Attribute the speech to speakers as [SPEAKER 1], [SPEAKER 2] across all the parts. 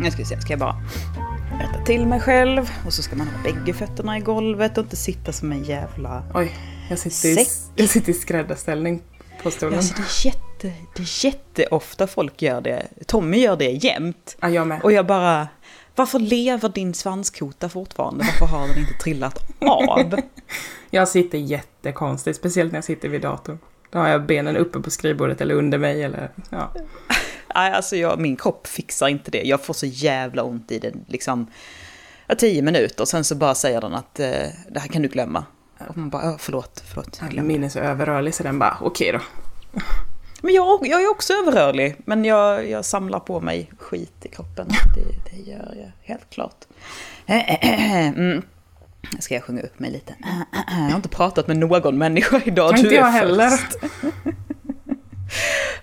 [SPEAKER 1] Nu ska vi se, ska jag bara rätta till mig själv. Och så ska man ha bägge fötterna i golvet och inte sitta som en jävla...
[SPEAKER 2] Oj, jag sitter, i,
[SPEAKER 1] Säck.
[SPEAKER 2] jag sitter i skräddarställning på stolen.
[SPEAKER 1] Alltså det är jätte, det är jätteofta folk gör det. Tommy gör det jämt.
[SPEAKER 2] Ja, jag med.
[SPEAKER 1] Och jag bara, varför lever din svanskota fortfarande? Varför har den inte trillat av?
[SPEAKER 2] Jag sitter jättekonstigt, speciellt när jag sitter vid datorn. Då har jag benen uppe på skrivbordet eller under mig eller ja.
[SPEAKER 1] Nej, alltså jag, min kropp fixar inte det. Jag får så jävla ont i det, liksom. ja, Tio minuter, sen så bara säger den att eh, det här kan du glömma. Och man bara, "Ja, förlåt, förlåt. jag glömde."
[SPEAKER 2] Min är så överrörlig så den bara, okej då.
[SPEAKER 1] Men jag, jag är också överrörlig, men jag, jag samlar på mig skit i kroppen. Det, det gör jag, helt klart. Mm. Ska jag sjunga upp mig lite? Jag har inte pratat med någon människa idag.
[SPEAKER 2] inte
[SPEAKER 1] är
[SPEAKER 2] jag heller.
[SPEAKER 1] först.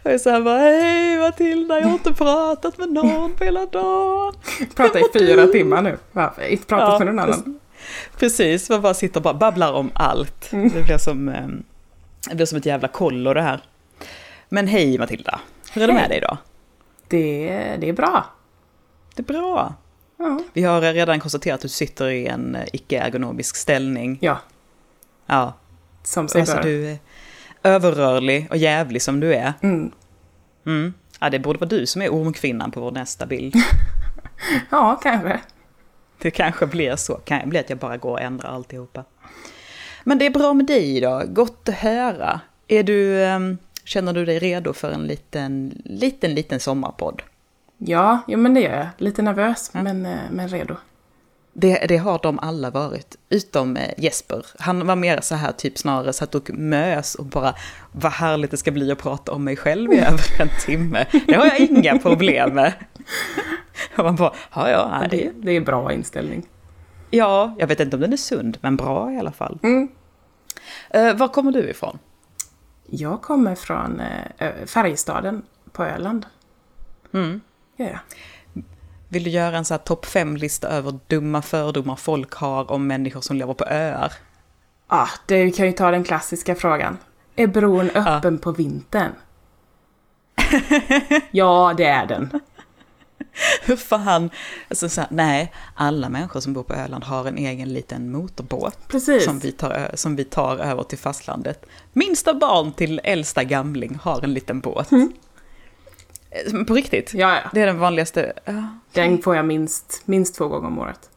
[SPEAKER 1] Jag är så här bara, hej Matilda, jag har inte pratat med någon på hela dagen.
[SPEAKER 2] Prata i fyra timmar nu. Varför? Inte pratat med någon annan.
[SPEAKER 1] Precis, man bara sitter och bara babblar om allt.
[SPEAKER 2] Mm.
[SPEAKER 1] Det, blir som, eh, det blir som ett jävla kollo det här. Men hej Matilda, hur är det med dig idag?
[SPEAKER 2] Det, det är bra.
[SPEAKER 1] Det är bra.
[SPEAKER 2] Ja.
[SPEAKER 1] Vi har redan konstaterat att du sitter i en eh, icke-ergonomisk ställning.
[SPEAKER 2] ja,
[SPEAKER 1] Ja,
[SPEAKER 2] som sig
[SPEAKER 1] alltså
[SPEAKER 2] bör.
[SPEAKER 1] du är överrörlig och jävlig som du är.
[SPEAKER 2] Mm.
[SPEAKER 1] Mm. Ja, det borde vara du som är ormkvinnan på vår nästa bild.
[SPEAKER 2] Ja, kanske.
[SPEAKER 1] Det kanske blir så. Kan bli att jag bara går och ändrar alltihopa. Men det är bra med dig idag. Gott att höra. Är du, ehm, känner du dig redo för en liten, liten, liten sommarpodd?
[SPEAKER 2] Ja, jo, men det gör jag. Lite nervös,
[SPEAKER 1] Mm.
[SPEAKER 2] men, eh, men redo.
[SPEAKER 1] Det, det har de alla varit, utom eh, Jesper. Han var mer så här, typ snarare satt och mös och bara, vad härligt det ska bli att prata om mig själv i över en timme. Det har jag inga problem med. Och man bara, ja, ja, nej, det
[SPEAKER 2] Det, det är bra inställning.
[SPEAKER 1] Ja, jag vet inte om den är sund, men bra i alla fall.
[SPEAKER 2] Mm.
[SPEAKER 1] Eh, var kommer du ifrån?
[SPEAKER 2] Jag kommer från eh, Ö- Färjestaden på Öland.
[SPEAKER 1] Mm.
[SPEAKER 2] Ja, ja.
[SPEAKER 1] Vill du göra en så här topp fem-lista över dumma fördomar folk har om människor som lever på öar?
[SPEAKER 2] Ah, det, vi kan ju ta den klassiska frågan. Är bron öppen på vintern? ja, det är den.
[SPEAKER 1] Hur fan? Alltså så här, nej, alla människor som bor på Öland har en egen liten motorbåt.
[SPEAKER 2] Precis.
[SPEAKER 1] Som vi, tar, ö- som vi tar över till fastlandet. Minsta barn till äldsta gamling har en liten båt.
[SPEAKER 2] Mm.
[SPEAKER 1] Eh, men På riktigt?
[SPEAKER 2] Ja, ja.
[SPEAKER 1] Det är den vanligaste. eh, ja.
[SPEAKER 2] Den får jag minst, minst två gånger om året.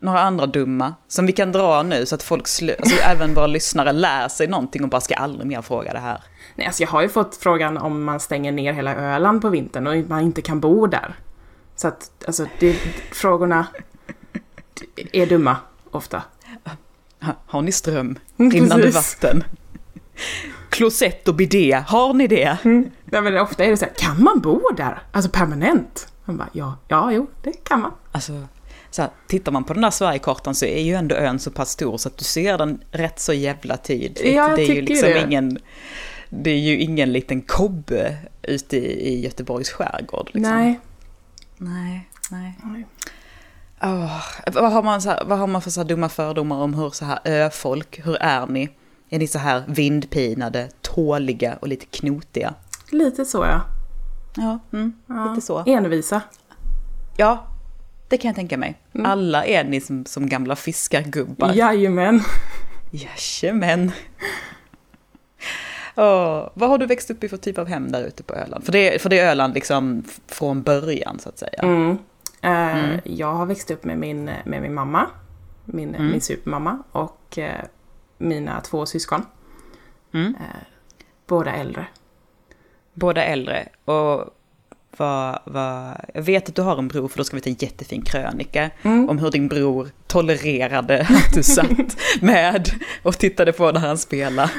[SPEAKER 1] Några andra dumma som vi kan dra nu så att folk, slö, alltså även våra lyssnare lär sig någonting och bara ska aldrig mer fråga det här.
[SPEAKER 2] Nej, alltså jag har ju fått frågan om man stänger ner hela Öland på vintern och man inte kan bo där. Så att, alltså, det, frågorna är dumma ofta.
[SPEAKER 1] Ha- Har ni ström?
[SPEAKER 2] Mm,
[SPEAKER 1] Rinnande
[SPEAKER 2] precis.
[SPEAKER 1] vatten? Klosett och bidé, har ni det?
[SPEAKER 2] Nej, men ofta är det så här, kan man bo där? Alltså permanent? Man bara, ja, ja, jo, det kan man.
[SPEAKER 1] Alltså, så här, tittar man på den där Sverigekartan så är ju ändå ön så pass stor så att du ser den rätt så jävla tydligt.
[SPEAKER 2] Ja, jag
[SPEAKER 1] det är ju
[SPEAKER 2] tycker
[SPEAKER 1] liksom
[SPEAKER 2] det.
[SPEAKER 1] ingen... Det är ju ingen liten kobbe ute i, i Göteborgs skärgård. Liksom.
[SPEAKER 2] Nej.
[SPEAKER 1] Nej, nej. Åh, vad, har man så här, vad har man för så här dumma fördomar om hur så här öfolk, hur är ni? Är ni så här vindpinade, tåliga och lite knotiga?
[SPEAKER 2] Lite så ja.
[SPEAKER 1] Ja, mm,
[SPEAKER 2] ja.
[SPEAKER 1] lite så.
[SPEAKER 2] Envisa.
[SPEAKER 1] Ja, det kan jag tänka mig.
[SPEAKER 2] Mm.
[SPEAKER 1] Alla är ni som, som gamla fiskargubbar.
[SPEAKER 2] Jajamän.
[SPEAKER 1] Jajamän. Åh, vad har du växt upp i för typ av hem där ute på Öland? För det, för det är Öland liksom f- från början så att säga.
[SPEAKER 2] Mm. Eh, Jag har växt upp med min, med min mamma, min,
[SPEAKER 1] Mm.
[SPEAKER 2] min supermamma och eh, mina två syskon.
[SPEAKER 1] Mm.
[SPEAKER 2] Eh, båda äldre.
[SPEAKER 1] Båda äldre och vad, vad, jag vet att du har en bror för då ska vi ta en jättefin krönika
[SPEAKER 2] Mm.
[SPEAKER 1] om hur din bror tolererade att du satt med och tittade på när han spelade.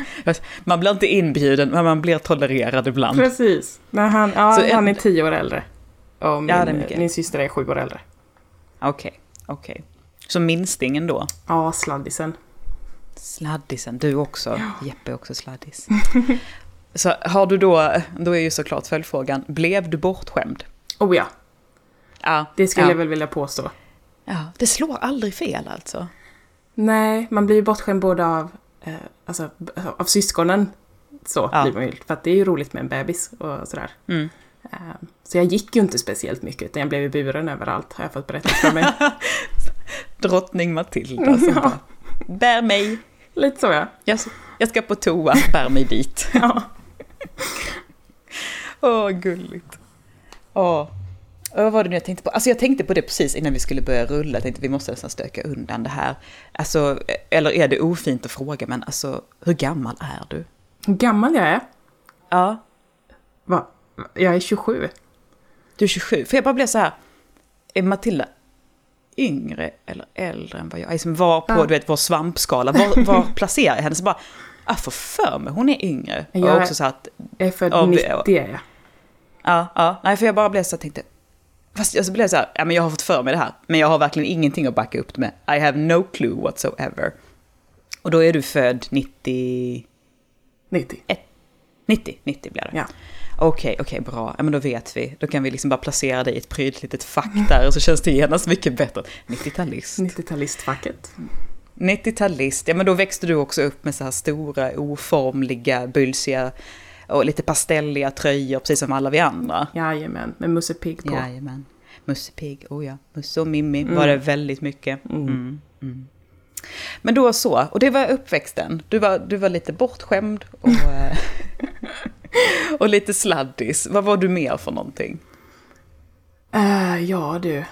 [SPEAKER 1] Man blir inte inbjuden men man blir tolererad ibland.
[SPEAKER 2] Precis. Men han, ja,
[SPEAKER 1] Så
[SPEAKER 2] han är
[SPEAKER 1] en-
[SPEAKER 2] tio år äldre. Och min,
[SPEAKER 1] Ja, det är mycket.
[SPEAKER 2] min syster är sju år äldre.
[SPEAKER 1] Okej, okej. Så minstingen då?
[SPEAKER 2] Ja, sladdisen.
[SPEAKER 1] Sladdisen, du också. Jeppe är också sladdis. Så har du då, då är ju såklart följdfrågan, blev du bortskämd?
[SPEAKER 2] Oh ja,
[SPEAKER 1] Ja,
[SPEAKER 2] det skulle
[SPEAKER 1] ja.
[SPEAKER 2] jag väl vilja påstå.
[SPEAKER 1] Ja, det slår aldrig fel alltså.
[SPEAKER 2] Nej, man blir ju bortskämd både av, eh, alltså, b- av syskonen. Så
[SPEAKER 1] Ja.
[SPEAKER 2] blir man ju, för att det är ju roligt med en bebis och sådär.
[SPEAKER 1] Mm.
[SPEAKER 2] Eh, Så jag gick ju inte speciellt mycket, utan jag blev ju buren överallt, har jag fått berätta för mig.
[SPEAKER 1] Drottning Matilda som
[SPEAKER 2] Ja.
[SPEAKER 1] bara, bär mig,
[SPEAKER 2] Lite så ja.
[SPEAKER 1] jag, jag ska på toa, bär mig dit.
[SPEAKER 2] ja.
[SPEAKER 1] Åh, gulligt. Åh. Och vad var det nu jag tänkte på? Alltså jag tänkte på det precis innan vi skulle börja rulla. Jag tänkte vi måste nästan stöka undan det här. Alltså, eller är det ofint att fråga, men alltså hur gammal är du?
[SPEAKER 2] Hur gammal jag är?
[SPEAKER 1] Ja,
[SPEAKER 2] Va? Jag är 27.
[SPEAKER 1] du är 27. För jag bara blev så här, är Matilda yngre eller äldre än vad jag är? Som var på,
[SPEAKER 2] Ja.
[SPEAKER 1] du vet, vår svampskala, var, var placerar jag henne? Så bara, ah för för mig, hon är yngre.
[SPEAKER 2] Jag
[SPEAKER 1] och
[SPEAKER 2] är-
[SPEAKER 1] också så att,
[SPEAKER 2] Jag är född
[SPEAKER 1] Ja, vi-
[SPEAKER 2] 90 är jag.
[SPEAKER 1] ja, ja, nej för jag bara blev så här, tänkte, fast jag så blev jag så här, ja men jag har fått för mig det här, men jag har verkligen ingenting att backa upp det med. I have no clue whatsoever. Och då är du född 90,
[SPEAKER 2] 90.
[SPEAKER 1] 90, 90 blir det.
[SPEAKER 2] Ja.
[SPEAKER 1] Okej, okej, bra. Ja, men då vet vi. Då kan vi liksom bara placera dig i ett prydligt litet fack där och så känns det genast mycket bättre. 90-talist.
[SPEAKER 2] 90-talistfacket.
[SPEAKER 1] 90-talist, ja men då växte du också upp med så här stora, oformliga, bylsiga och lite pastelliga tröjor, precis som alla vi andra.
[SPEAKER 2] Jajamän, med Musse Pigg på.
[SPEAKER 1] Jajamän. Musse Pigg, oh ja. Musse och Mimmi var det väldigt mycket. Mm. Mm. Men då så, och det var uppväxten. Du var, du var lite bortskämd och, eh, och lite sladdis. Vad var du mer för någonting?
[SPEAKER 2] Eh, ja du.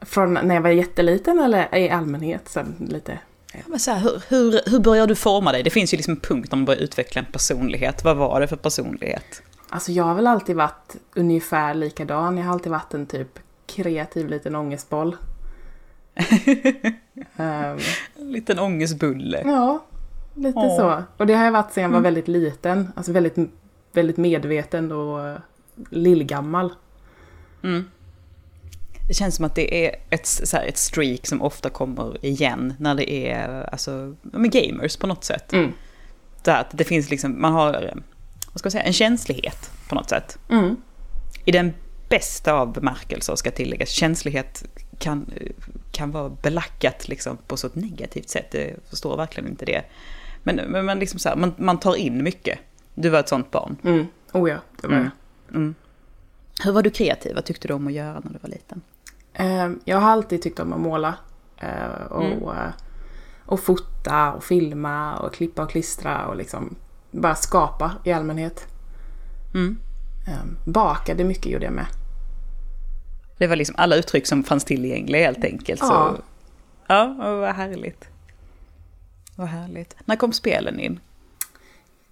[SPEAKER 2] Från när jag var jätteliten eller i allmänhet sen lite?
[SPEAKER 1] Ja, men så här, hur, hur, hur börjar du forma dig? Det finns ju liksom en punkt när man börjar utveckla en personlighet. Vad var det för personlighet?
[SPEAKER 2] Alltså jag har väl alltid varit ungefär likadan. Jag har alltid varit en typ kreativ liten ångestboll. Ehm,
[SPEAKER 1] En liten ångestbulle.
[SPEAKER 2] ja, Mm. lite
[SPEAKER 1] Åh.
[SPEAKER 2] så. Och det har jag varit sedan jag var väldigt liten. Alltså väldigt, väldigt medveten och eh, lillgammal.
[SPEAKER 1] Mm. Det känns som att det är ett, så här, ett streak som ofta kommer igen när det är alltså, ja, men gamers på något sätt.
[SPEAKER 2] Mm.
[SPEAKER 1] Så att det finns liksom, man har eh, vad ska jag säga, en känslighet på något sätt.
[SPEAKER 2] Mm.
[SPEAKER 1] I den bästa av bemärkelser ska tilläggas. Känslighet kan, eh, kan vara belackat liksom på så ett negativt sätt. Jag förstår verkligen inte det. Men, men, men liksom så här, man, man tar in mycket. Du var ett sånt barn.
[SPEAKER 2] Mm. Oh ja, det var jag.
[SPEAKER 1] Mm. Hur var du kreativ? Vad tyckte du om att göra när du var liten?
[SPEAKER 2] Eh, Jag har alltid tyckt om att måla. eh, Och, eh, och fota och filma och klippa och klistra och liksom bara skapa i allmänhet.
[SPEAKER 1] Mm.
[SPEAKER 2] Eh, Bakade mycket gjorde jag med.
[SPEAKER 1] Det var liksom alla uttryck som fanns tillgängliga helt enkelt.
[SPEAKER 2] Ja.
[SPEAKER 1] Så. ja och vad härligt. Vad härligt. När kom spelen in?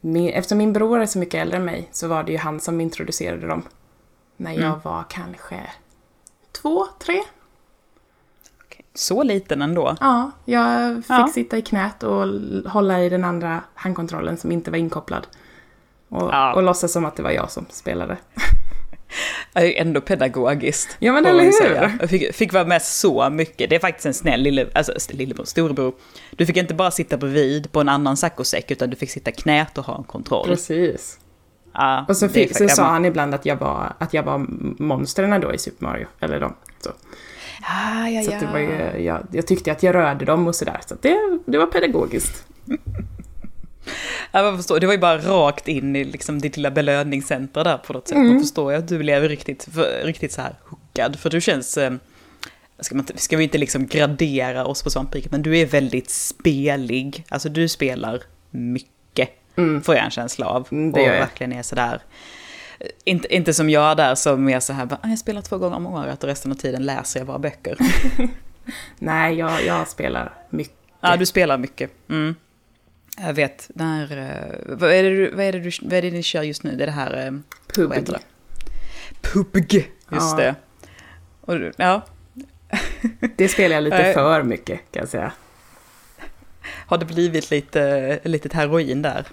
[SPEAKER 2] Min, eftersom min bror är så mycket äldre än mig så var det ju han som introducerade dem. När jag
[SPEAKER 1] Mm.
[SPEAKER 2] var kanske två, tre.
[SPEAKER 1] Så liten ändå.
[SPEAKER 2] Ja, jag fick
[SPEAKER 1] Ja.
[SPEAKER 2] sitta i knät och l- hålla i den andra handkontrollen som inte var inkopplad. Och,
[SPEAKER 1] Ja.
[SPEAKER 2] och låtsas som att det var jag som spelade.
[SPEAKER 1] är ju ändå pedagogiskt.
[SPEAKER 2] Ja, men
[SPEAKER 1] får
[SPEAKER 2] eller
[SPEAKER 1] man ju
[SPEAKER 2] hur?
[SPEAKER 1] säga. Jag fick, fick vara med så mycket. Det är faktiskt en snäll lille, alltså, st- lillebror, storebror. Du fick inte bara sitta bredvid på en annan saccosäck utan du fick sitta knät och ha en kontroll.
[SPEAKER 2] Precis.
[SPEAKER 1] Ja,
[SPEAKER 2] Och så,
[SPEAKER 1] det är
[SPEAKER 2] fick, så
[SPEAKER 1] faktiskt-
[SPEAKER 2] sa han ibland att jag var, att jag var monstren då i Super Mario. Eller de. Så,
[SPEAKER 1] Ah, ja,
[SPEAKER 2] så att det
[SPEAKER 1] ja.
[SPEAKER 2] var ju, jag, jag tyckte att jag rörde dem och sådär. Så att det, det var pedagogiskt.
[SPEAKER 1] Ja, man förstår. Det var ju bara rakt in i liksom ditt lilla belöningscenter där på något sätt.
[SPEAKER 2] Mm.
[SPEAKER 1] Man förstår ju att du blev riktigt, för, riktigt så här hookad. För du känns, eh, ska, man, inte- ska vi inte liksom gradera oss på svampriket, men du är väldigt spelig. Alltså du spelar mycket, får jag en känsla av.
[SPEAKER 2] Mm, det
[SPEAKER 1] och
[SPEAKER 2] gör jag.
[SPEAKER 1] verkligen är sådär. eh, Inte, inte som jag där som är så här, bara, "Ah, jag spelar två gånger om året och resten av tiden läser jag bara böcker.
[SPEAKER 2] Nej, jag, jag spelar mycket.
[SPEAKER 1] Ja, du spelar mycket. Mm. Jag vet, när... eh, Vad är, det, du- vad, är det du, vad är det ni kör just nu? Det är det här... eh,
[SPEAKER 2] Pub.
[SPEAKER 1] Vad heter det? PubG, just
[SPEAKER 2] Ja.
[SPEAKER 1] det. Och, du- ja.
[SPEAKER 2] Det spelar jag lite
[SPEAKER 1] Nej.
[SPEAKER 2] för mycket kan jag säga.
[SPEAKER 1] Har det blivit lite litet heroin där?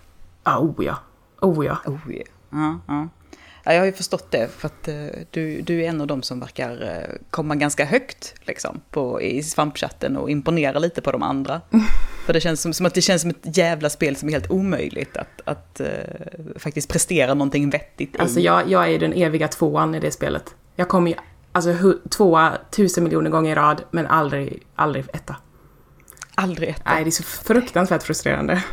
[SPEAKER 2] Ah, oh ja. Oh ja.
[SPEAKER 1] Oh, yeah. ja, ja. ja, jag har ju förstått det, för att eh, du, du är en av dem som verkar eh, komma ganska högt liksom, på, i svampchatten och imponera lite på de andra. För det känns som, som att det känns som ett jävla spel som är helt omöjligt att, att eh, faktiskt prestera någonting vettigt i.
[SPEAKER 2] Alltså jag, jag är den eviga tvåan i det spelet. Jag kommer ju alltså hu- tvåa tusen miljoner gånger i rad, men aldrig, aldrig etta.
[SPEAKER 1] Aldrig ett.
[SPEAKER 2] Nej, det är så fruktansvärt frustrerande.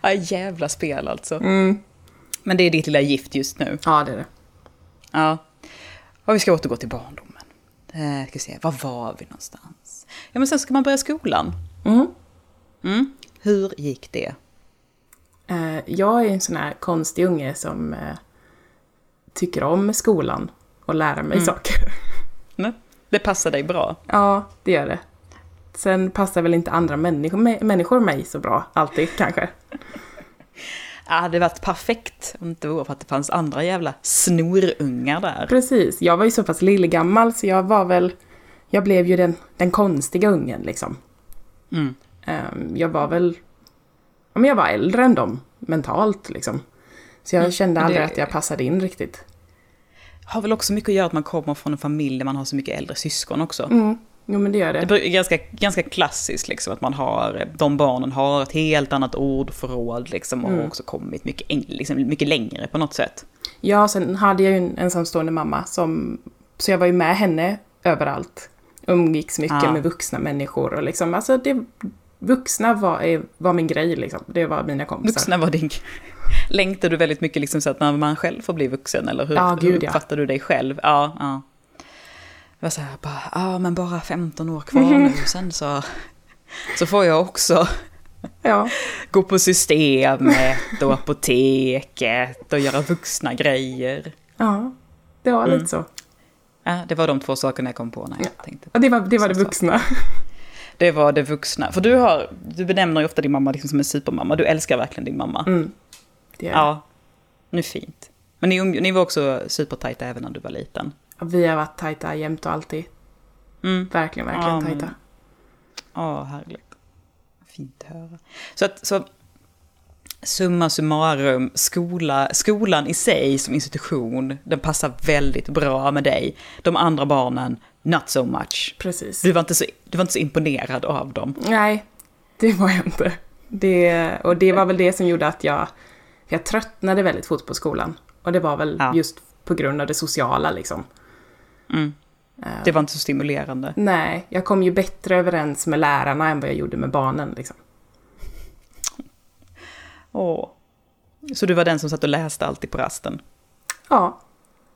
[SPEAKER 1] Ja, jävla spel alltså. Men det är ditt lilla gift just nu.
[SPEAKER 2] Ja, det är det.
[SPEAKER 1] Ja. Och vi ska återgå till barndomen. Eh, ska se, var var vi någonstans? Ja, men sen ska man börja skolan.
[SPEAKER 2] Mm.
[SPEAKER 1] Mm. Hur gick det?
[SPEAKER 2] Eh, jag är en sån här konstig unge som eh, tycker om skolan och lära mig saker.
[SPEAKER 1] Nej, Det passar dig bra.
[SPEAKER 2] Ja, det gör det. Sen passar väl inte andra människor, mä- människor mig så bra, alltid kanske.
[SPEAKER 1] Ja, det hade varit perfekt om det inte vore för att det fanns andra jävla snorungar där.
[SPEAKER 2] Precis, jag var ju så pass lillgammal så jag var väl, jag blev ju den, den konstiga ungen liksom.
[SPEAKER 1] Mm.
[SPEAKER 2] Ehm, jag var väl, ja, men jag var äldre än dem mentalt liksom. Så jag kände
[SPEAKER 1] Mm. men det-
[SPEAKER 2] aldrig att jag passade in riktigt.
[SPEAKER 1] Har väl också mycket att göra att man kommer från en familj där man har så mycket äldre syskon också.
[SPEAKER 2] Mm, jo men det gör
[SPEAKER 1] Det
[SPEAKER 2] det.
[SPEAKER 1] bru- är ganska, ganska klassiskt liksom att man har, de barnen har ett helt annat ordförråd liksom och har också kommit mycket, eng- liksom, mycket längre på något sätt.
[SPEAKER 2] Ja, sen hade jag ju en ensamstående mamma som, så jag var ju med henne överallt. Umgicks mycket
[SPEAKER 1] Ah.
[SPEAKER 2] med vuxna människor och liksom, alltså det, vuxna var, är- var min grej liksom. Det var mina kompisar.
[SPEAKER 1] Vuxna var din... Längtar du väldigt mycket liksom så att när man själv får bli vuxen eller hur,
[SPEAKER 2] Ja, gud,
[SPEAKER 1] hur
[SPEAKER 2] ja.
[SPEAKER 1] uppfattar du dig själv? Ja, ja. Jag var så här, bara, ja men bara 15 år kvar
[SPEAKER 2] Mm.
[SPEAKER 1] nu sen så, så får jag också
[SPEAKER 2] Ja,
[SPEAKER 1] gå på systemet och apoteket och göra vuxna grejer.
[SPEAKER 2] ja, det var
[SPEAKER 1] Mm.
[SPEAKER 2] lite så.
[SPEAKER 1] Ja, det var de två sakerna jag kom på när jag tänkte.
[SPEAKER 2] Ja, det var det, var det
[SPEAKER 1] Så- så.
[SPEAKER 2] vuxna.
[SPEAKER 1] Det var det vuxna. För du, har, du benämner ju ofta din mamma liksom som en supermamma. Du älskar verkligen din mamma.
[SPEAKER 2] Mm. Det är,
[SPEAKER 1] Ja, nu är fint. Men ni, umg- ni var också supertajta även när du var liten.
[SPEAKER 2] Vi har varit tajta jämt och alltid.
[SPEAKER 1] Mm.
[SPEAKER 2] Verkligen, verkligen
[SPEAKER 1] Ja, men-
[SPEAKER 2] tajta.
[SPEAKER 1] Ja, härligt. Fint att höra. Så att, så summa summarum, skola, skolan i sig som institution, den passar väldigt bra med dig. De andra barnen, not so much.
[SPEAKER 2] Precis.
[SPEAKER 1] Du var inte så, du var inte så imponerad av dem.
[SPEAKER 2] Nej, det var jag inte. Det, och det var väl det som gjorde att jag, jag tröttnade väldigt fort på skolan. Och det var väl
[SPEAKER 1] Ja.
[SPEAKER 2] just på grund av det sociala liksom.
[SPEAKER 1] Mm.
[SPEAKER 2] Eh,
[SPEAKER 1] Det var inte så stimulerande.
[SPEAKER 2] Nej, jag kom ju bättre överens med lärarna än vad jag gjorde med barnen liksom.
[SPEAKER 1] Åh. Så du var den som satt och läste alltid på rasten?
[SPEAKER 2] Ja.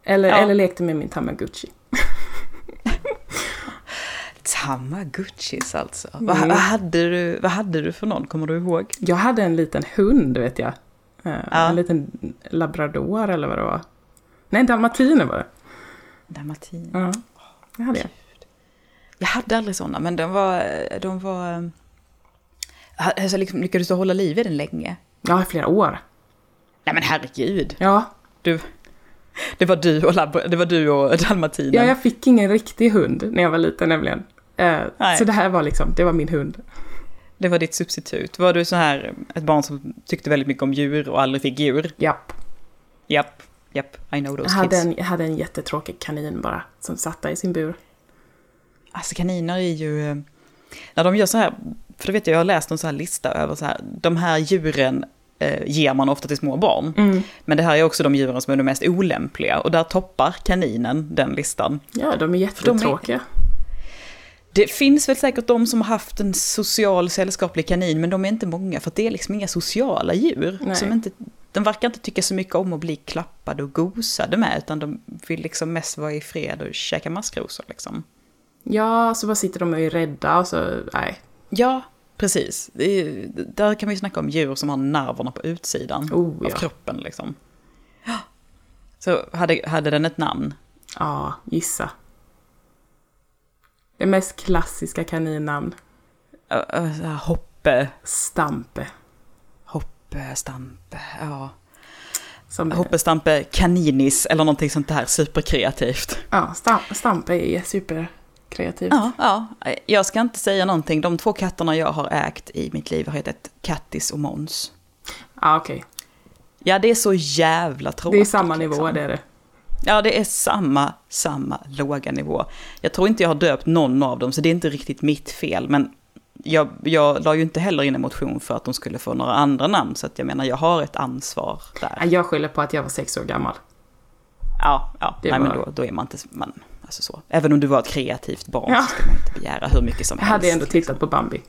[SPEAKER 2] Eller,
[SPEAKER 1] Ja.
[SPEAKER 2] eller lekte med min tamagotchi.
[SPEAKER 1] Tamagotchis alltså. Vad, vad, hade du, vad hade du för någon, kommer du ihåg?
[SPEAKER 2] Jag hade en liten hund vet jag. Eh,
[SPEAKER 1] Ja.
[SPEAKER 2] En liten labrador eller vad det var. Nej, dalmatiner var det.
[SPEAKER 1] Dalmatin.
[SPEAKER 2] Ja, det hade jag.
[SPEAKER 1] Jag hade aldrig sådana, men de var... De var eh, alltså, liksom, lyckades du hålla liv i den länge?
[SPEAKER 2] Ja, i flera år.
[SPEAKER 1] Nej men herregud!
[SPEAKER 2] Ja,
[SPEAKER 1] Du, det, var du och lab, det var du och dalmatinen.
[SPEAKER 2] Ja, jag fick ingen riktig hund när jag var liten nämligen. Eh,
[SPEAKER 1] Nej.
[SPEAKER 2] så det här var liksom, det var min hund.
[SPEAKER 1] Det var ditt substitut. Var du så här ett barn som tyckte väldigt mycket om djur och aldrig fick djur?
[SPEAKER 2] Japp.
[SPEAKER 1] Japp, japp, I know
[SPEAKER 2] Jag
[SPEAKER 1] those
[SPEAKER 2] hade
[SPEAKER 1] kids.
[SPEAKER 2] en, jag hade en jättetråkig kanin bara, som satt där i sin bur.
[SPEAKER 1] Alltså kaniner är ju... eh, När de gör så här, för det vet jag, jag har läst en så här lista över så här, de här djuren eh, ger man ofta till små barn.
[SPEAKER 2] Mm.
[SPEAKER 1] Men det här är också de djuren som är de mest olämpliga och där toppar kaninen den listan.
[SPEAKER 2] Ja, de är jättetråkiga.
[SPEAKER 1] Det finns väl säkert de som har haft en social sällskaplig kanin men de är inte många för att det är liksom inga sociala djur.
[SPEAKER 2] Nej.
[SPEAKER 1] Som inte, de verkar inte tycka så mycket om att bli klappade och gosade med utan de vill liksom mest vara i fred och käka maskrosor liksom.
[SPEAKER 2] Ja, så bara sitter de och är rädda och så, nej.
[SPEAKER 1] Ja, precis. Det är- Där kan vi ju snacka om djur som har nerverna på utsidan
[SPEAKER 2] Oh,
[SPEAKER 1] av
[SPEAKER 2] ja.
[SPEAKER 1] kroppen. Liksom. Så hade, hade den ett namn?
[SPEAKER 2] Ja, gissa. Det mest klassiska kaninnamn.
[SPEAKER 1] Ö, ö, så här, Hoppe,
[SPEAKER 2] Stampe.
[SPEAKER 1] Hoppe, Stampe, ja.
[SPEAKER 2] Som
[SPEAKER 1] Hoppe, Stampe, Kaninis eller någonting sånt där superkreativt.
[SPEAKER 2] Ja, stam, Stampe är superkreativt.
[SPEAKER 1] Ja, ja, jag ska inte säga någonting. De två katterna jag har ägt i mitt liv har hetat Kattis och Måns.
[SPEAKER 2] Ja, okej.
[SPEAKER 1] Ja, det är så jävla tråkigt.
[SPEAKER 2] Det är samma nivå,
[SPEAKER 1] liksom.
[SPEAKER 2] det är det.
[SPEAKER 1] Ja, det är samma, samma låga nivå. Jag tror inte jag har döpt någon av dem, så det är inte riktigt mitt fel. Men jag, jag la ju inte heller in en motion för att de skulle få några andra namn, så att jag menar, jag har ett ansvar
[SPEAKER 2] Ja,
[SPEAKER 1] där.
[SPEAKER 2] Jag skyller på att jag var sex år gammal.
[SPEAKER 1] Ja, ja, ja,
[SPEAKER 2] Det
[SPEAKER 1] nej,
[SPEAKER 2] var-
[SPEAKER 1] men då, då är man inte, man, alltså så. Även om du var ett kreativt barn
[SPEAKER 2] Ja.
[SPEAKER 1] så ska man inte begära hur mycket som
[SPEAKER 2] Jag
[SPEAKER 1] helst.
[SPEAKER 2] hade ändå tittat på Bambi.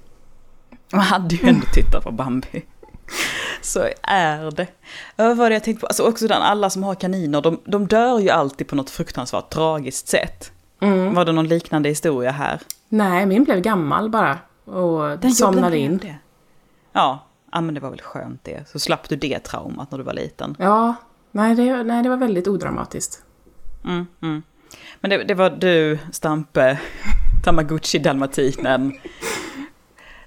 [SPEAKER 1] Man hade ju ändå tittat på Bambi. Så är det. Ja, Vad var det jag tänkte på? Alltså också den, alla som har kaniner, de, de dör ju alltid på något fruktansvärt tragiskt sätt. Var det någon liknande historia här?
[SPEAKER 2] Mm. Nej, min blev gammal bara och
[SPEAKER 1] Den gjorde
[SPEAKER 2] somnade in.
[SPEAKER 1] det. Ja, ja, men det var väl skönt det. Så slapp du det traumat när du var liten.
[SPEAKER 2] Ja, nej det, nej det var väldigt odramatiskt.
[SPEAKER 1] Mm, mm. Men det, det var du, Stampe, Tamagotchi, Dalmatinen,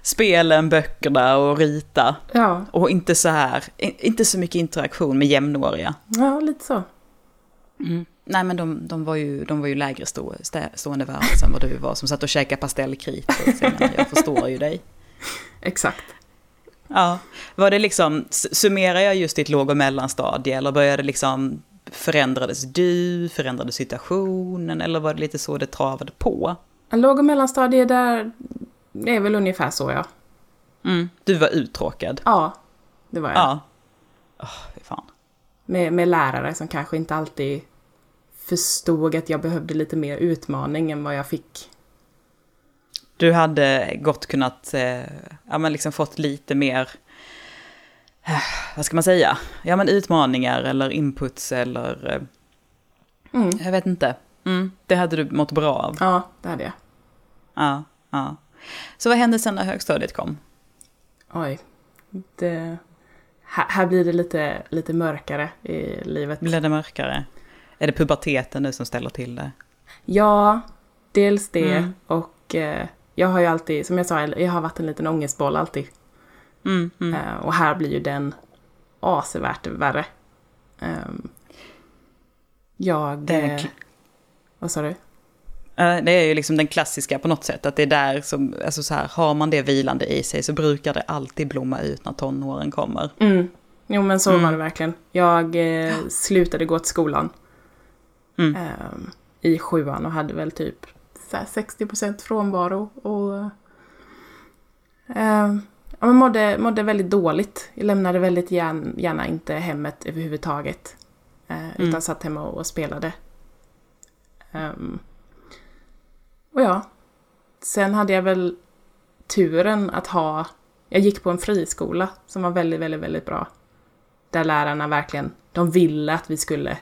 [SPEAKER 1] spelen, böckerna och rita.
[SPEAKER 2] Ja,
[SPEAKER 1] Och inte så här, i- inte så mycket interaktion med jämnåriga.
[SPEAKER 2] ja lite så.
[SPEAKER 1] Nej men de, de, var ju, de var ju lägre stå, stä, stående världs än vad du var som satt och käkade pastellkritor. Så jag, menar, jag förstår ju dig.
[SPEAKER 2] Exakt.
[SPEAKER 1] Ja, var det liksom, s- summerar jag just ditt låg och mellanstadie eller började liksom, förändrades du, förändrades situationen eller var det lite så det travade på?
[SPEAKER 2] En låg och mellanstadie där, det är väl ungefär så ja.
[SPEAKER 1] Du var uttråkad.
[SPEAKER 2] Ja, det var jag.
[SPEAKER 1] Mm. Ja. Åh, fy fan.
[SPEAKER 2] Med, med lärare som kanske inte alltid förstod att jag behövde lite mer utmaning än vad jag fick.
[SPEAKER 1] Du hade gott kunnat, eh, ja men liksom fått lite mer, eh, vad ska man säga, ja men utmaningar eller inputs eller, eh,
[SPEAKER 2] Mm.
[SPEAKER 1] jag vet inte. Mm, det hade du mått bra av.
[SPEAKER 2] Ja, det hade jag.
[SPEAKER 1] Ja, ja. Så vad hände sen när högstadiet kom?
[SPEAKER 2] Oj. Det, här, här blir det lite, lite mörkare i livet.
[SPEAKER 1] Blev det mörkare? Är det puberteten nu som ställer till det?
[SPEAKER 2] Ja, dels det
[SPEAKER 1] Mm.
[SPEAKER 2] och eh, jag har ju alltid, som jag sa, jag har varit en liten ångestboll alltid.
[SPEAKER 1] Mm, mm.
[SPEAKER 2] Eh, och här blir ju den avsevärt värre. Ehm, jag...
[SPEAKER 1] Det är
[SPEAKER 2] eh,
[SPEAKER 1] kl-
[SPEAKER 2] vad sa du?
[SPEAKER 1] Eh, Det är ju liksom den klassiska på något sätt, att det är där som, alltså så här, har man det vilande i sig så brukar det alltid blomma ut när tonåren kommer.
[SPEAKER 2] Mm. Jo men så var det verkligen. Jag eh, slutade gå till skolan
[SPEAKER 1] Mm.
[SPEAKER 2] ehm, i sjuan och hade väl typ så här 60% frånvaro och ehm, ja, men mådde, mådde väldigt dåligt. Jag lämnade väldigt gärna, gärna inte hemmet överhuvudtaget. Eh, Utan satt hemma och, och spelade. Ehm, och ja, sen hade jag väl turen att ha... Jag gick på en friskola som var väldigt, väldigt, väldigt bra. Där lärarna verkligen, de ville att vi skulle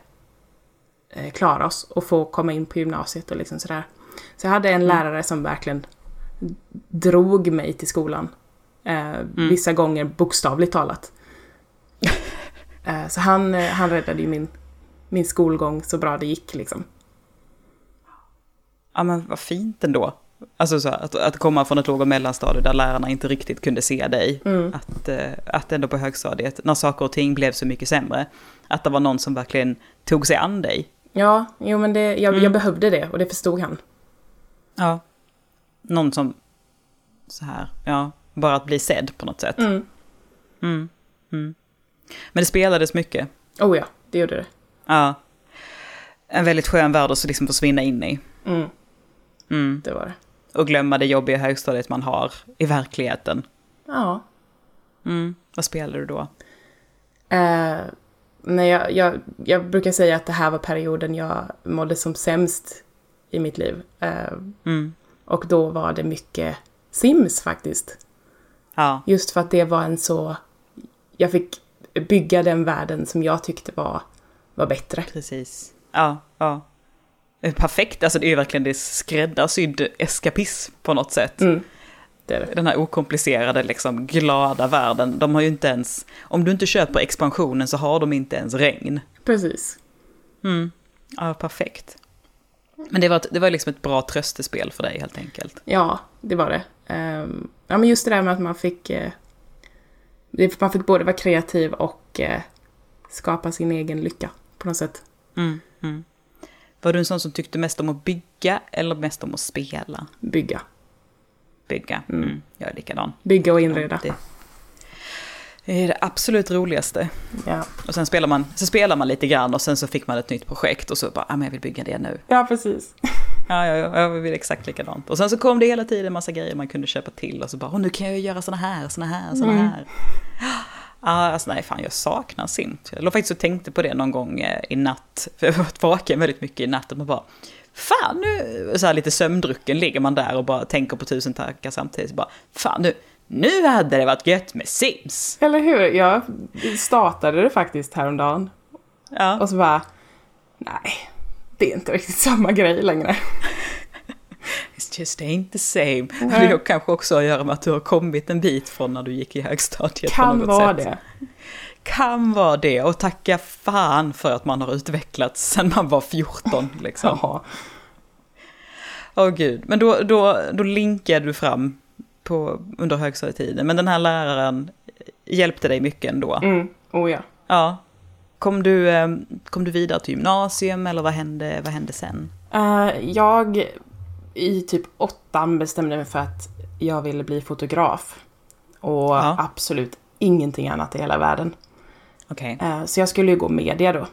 [SPEAKER 2] eh, klara oss och få komma in på gymnasiet och liksom sådär. Så jag hade en lärare som verkligen drog mig till skolan. Eh, Vissa gånger bokstavligt talat. eh, så han, eh, han räddade ju min, min skolgång så bra det gick liksom.
[SPEAKER 1] Ja men vad fint ändå. Alltså så här, att, att komma från ett låg och mellanstadie där lärarna inte riktigt kunde se dig.
[SPEAKER 2] Mm.
[SPEAKER 1] Att, eh, att ändå på högstadiet, när saker och ting blev så mycket sämre, att det var någon som verkligen tog sig an dig.
[SPEAKER 2] Ja, jo men det, jag, jag behövde det och det förstod han.
[SPEAKER 1] Ja. Någon som, så här, ja, bara att bli sedd på något sätt.
[SPEAKER 2] Mm.
[SPEAKER 1] Mm. Mm. Men det spelades mycket.
[SPEAKER 2] Oh ja, det gjorde det.
[SPEAKER 1] Ja. En väldigt skön värld att så liksom försvinna in i.
[SPEAKER 2] Mm,
[SPEAKER 1] Mm.
[SPEAKER 2] det var det.
[SPEAKER 1] Och glömma det jobbiga högstadiet man har i verkligheten.
[SPEAKER 2] Ja.
[SPEAKER 1] Mm. Vad spelade du då?
[SPEAKER 2] Eh, nej, jag, jag, jag brukar säga att det här var perioden jag mådde som sämst i mitt liv. Eh,
[SPEAKER 1] Mm.
[SPEAKER 2] och då var det mycket Sims faktiskt.
[SPEAKER 1] Ja.
[SPEAKER 2] Just för att det var en så... Jag fick bygga den världen som jag tyckte var, var bättre.
[SPEAKER 1] Precis. Ja, ja. Eh, Perfekt, alltså det är ju verkligen det är skräddarsydd eskapism på något sätt.
[SPEAKER 2] Mm. Det är det.
[SPEAKER 1] Den här okomplicerade, liksom glada världen, de har ju inte ens, om du inte köper expansionen så har de inte ens regn.
[SPEAKER 2] Precis.
[SPEAKER 1] Mm. Ja, perfekt. Men det var, ett- det var liksom ett bra tröstespel för dig helt enkelt.
[SPEAKER 2] Ja, det var det. Ehm, ja, men just det där med att man fick... eh, det- man fick både vara kreativ och eh, skapa sin egen lycka på något sätt.
[SPEAKER 1] Mm. Mm. Var du en sån som tyckte mest om att bygga eller mest om att spela?
[SPEAKER 2] Bygga.
[SPEAKER 1] Bygga.
[SPEAKER 2] Mm.
[SPEAKER 1] Mm. Jag är likadan.
[SPEAKER 2] Bygga och inreda.
[SPEAKER 1] Det, det är det absolut roligaste.
[SPEAKER 2] Ja,
[SPEAKER 1] Och sen spelar, man, så spelar man lite grann och sen så fick man ett nytt projekt och så bara, ah, men jag vill bygga det nu.
[SPEAKER 2] ja precis.
[SPEAKER 1] Ja, ja, ja, jag vill exakt likadant. Och sen så kom det hela tiden en massa grejer man kunde köpa till och så bara, åh nu kan jag ju göra såna här, såna här, såna
[SPEAKER 2] Mm.
[SPEAKER 1] här. Ah, alltså nej, fan jag saknar Simt. Jag låg faktiskt och tänkte på det någon gång eh, i natt, för jag har varit vaken väldigt mycket i natt, och man bara Fan nu, så här lite sömndrucken ligger man där och bara tänker på tusen tankar samtidigt. Bara, fan nu, nu hade det varit gött med Sims.
[SPEAKER 2] Eller hur? Jag startade det faktiskt häromdagen.
[SPEAKER 1] Ja.
[SPEAKER 2] Och så bara, nej, det är inte riktigt samma grej längre.
[SPEAKER 1] It's just ain't the same. Men det har kanske också att göra med att du har kommit en bit från när du gick i högstadiet på
[SPEAKER 2] Kan
[SPEAKER 1] något
[SPEAKER 2] vara
[SPEAKER 1] sätt.
[SPEAKER 2] det.
[SPEAKER 1] Kan vara det och tacka fan för att man har utvecklats sedan man var 14 liksom.
[SPEAKER 2] Jaha.
[SPEAKER 1] Åh gud, men då, då, då linkade du fram på, under högstadietiden. Men den här läraren hjälpte dig mycket ändå.
[SPEAKER 2] Mm, oh ja.
[SPEAKER 1] Ja. Kom du, eh, kom du vidare till gymnasium eller vad hände, vad hände sen?
[SPEAKER 2] Eh, jag i typ åttan bestämde mig för att jag ville bli fotograf. Och
[SPEAKER 1] Ja.
[SPEAKER 2] absolut ingenting annat i hela världen.
[SPEAKER 1] Okej.
[SPEAKER 2] Eh, så jag skulle ju gå media då.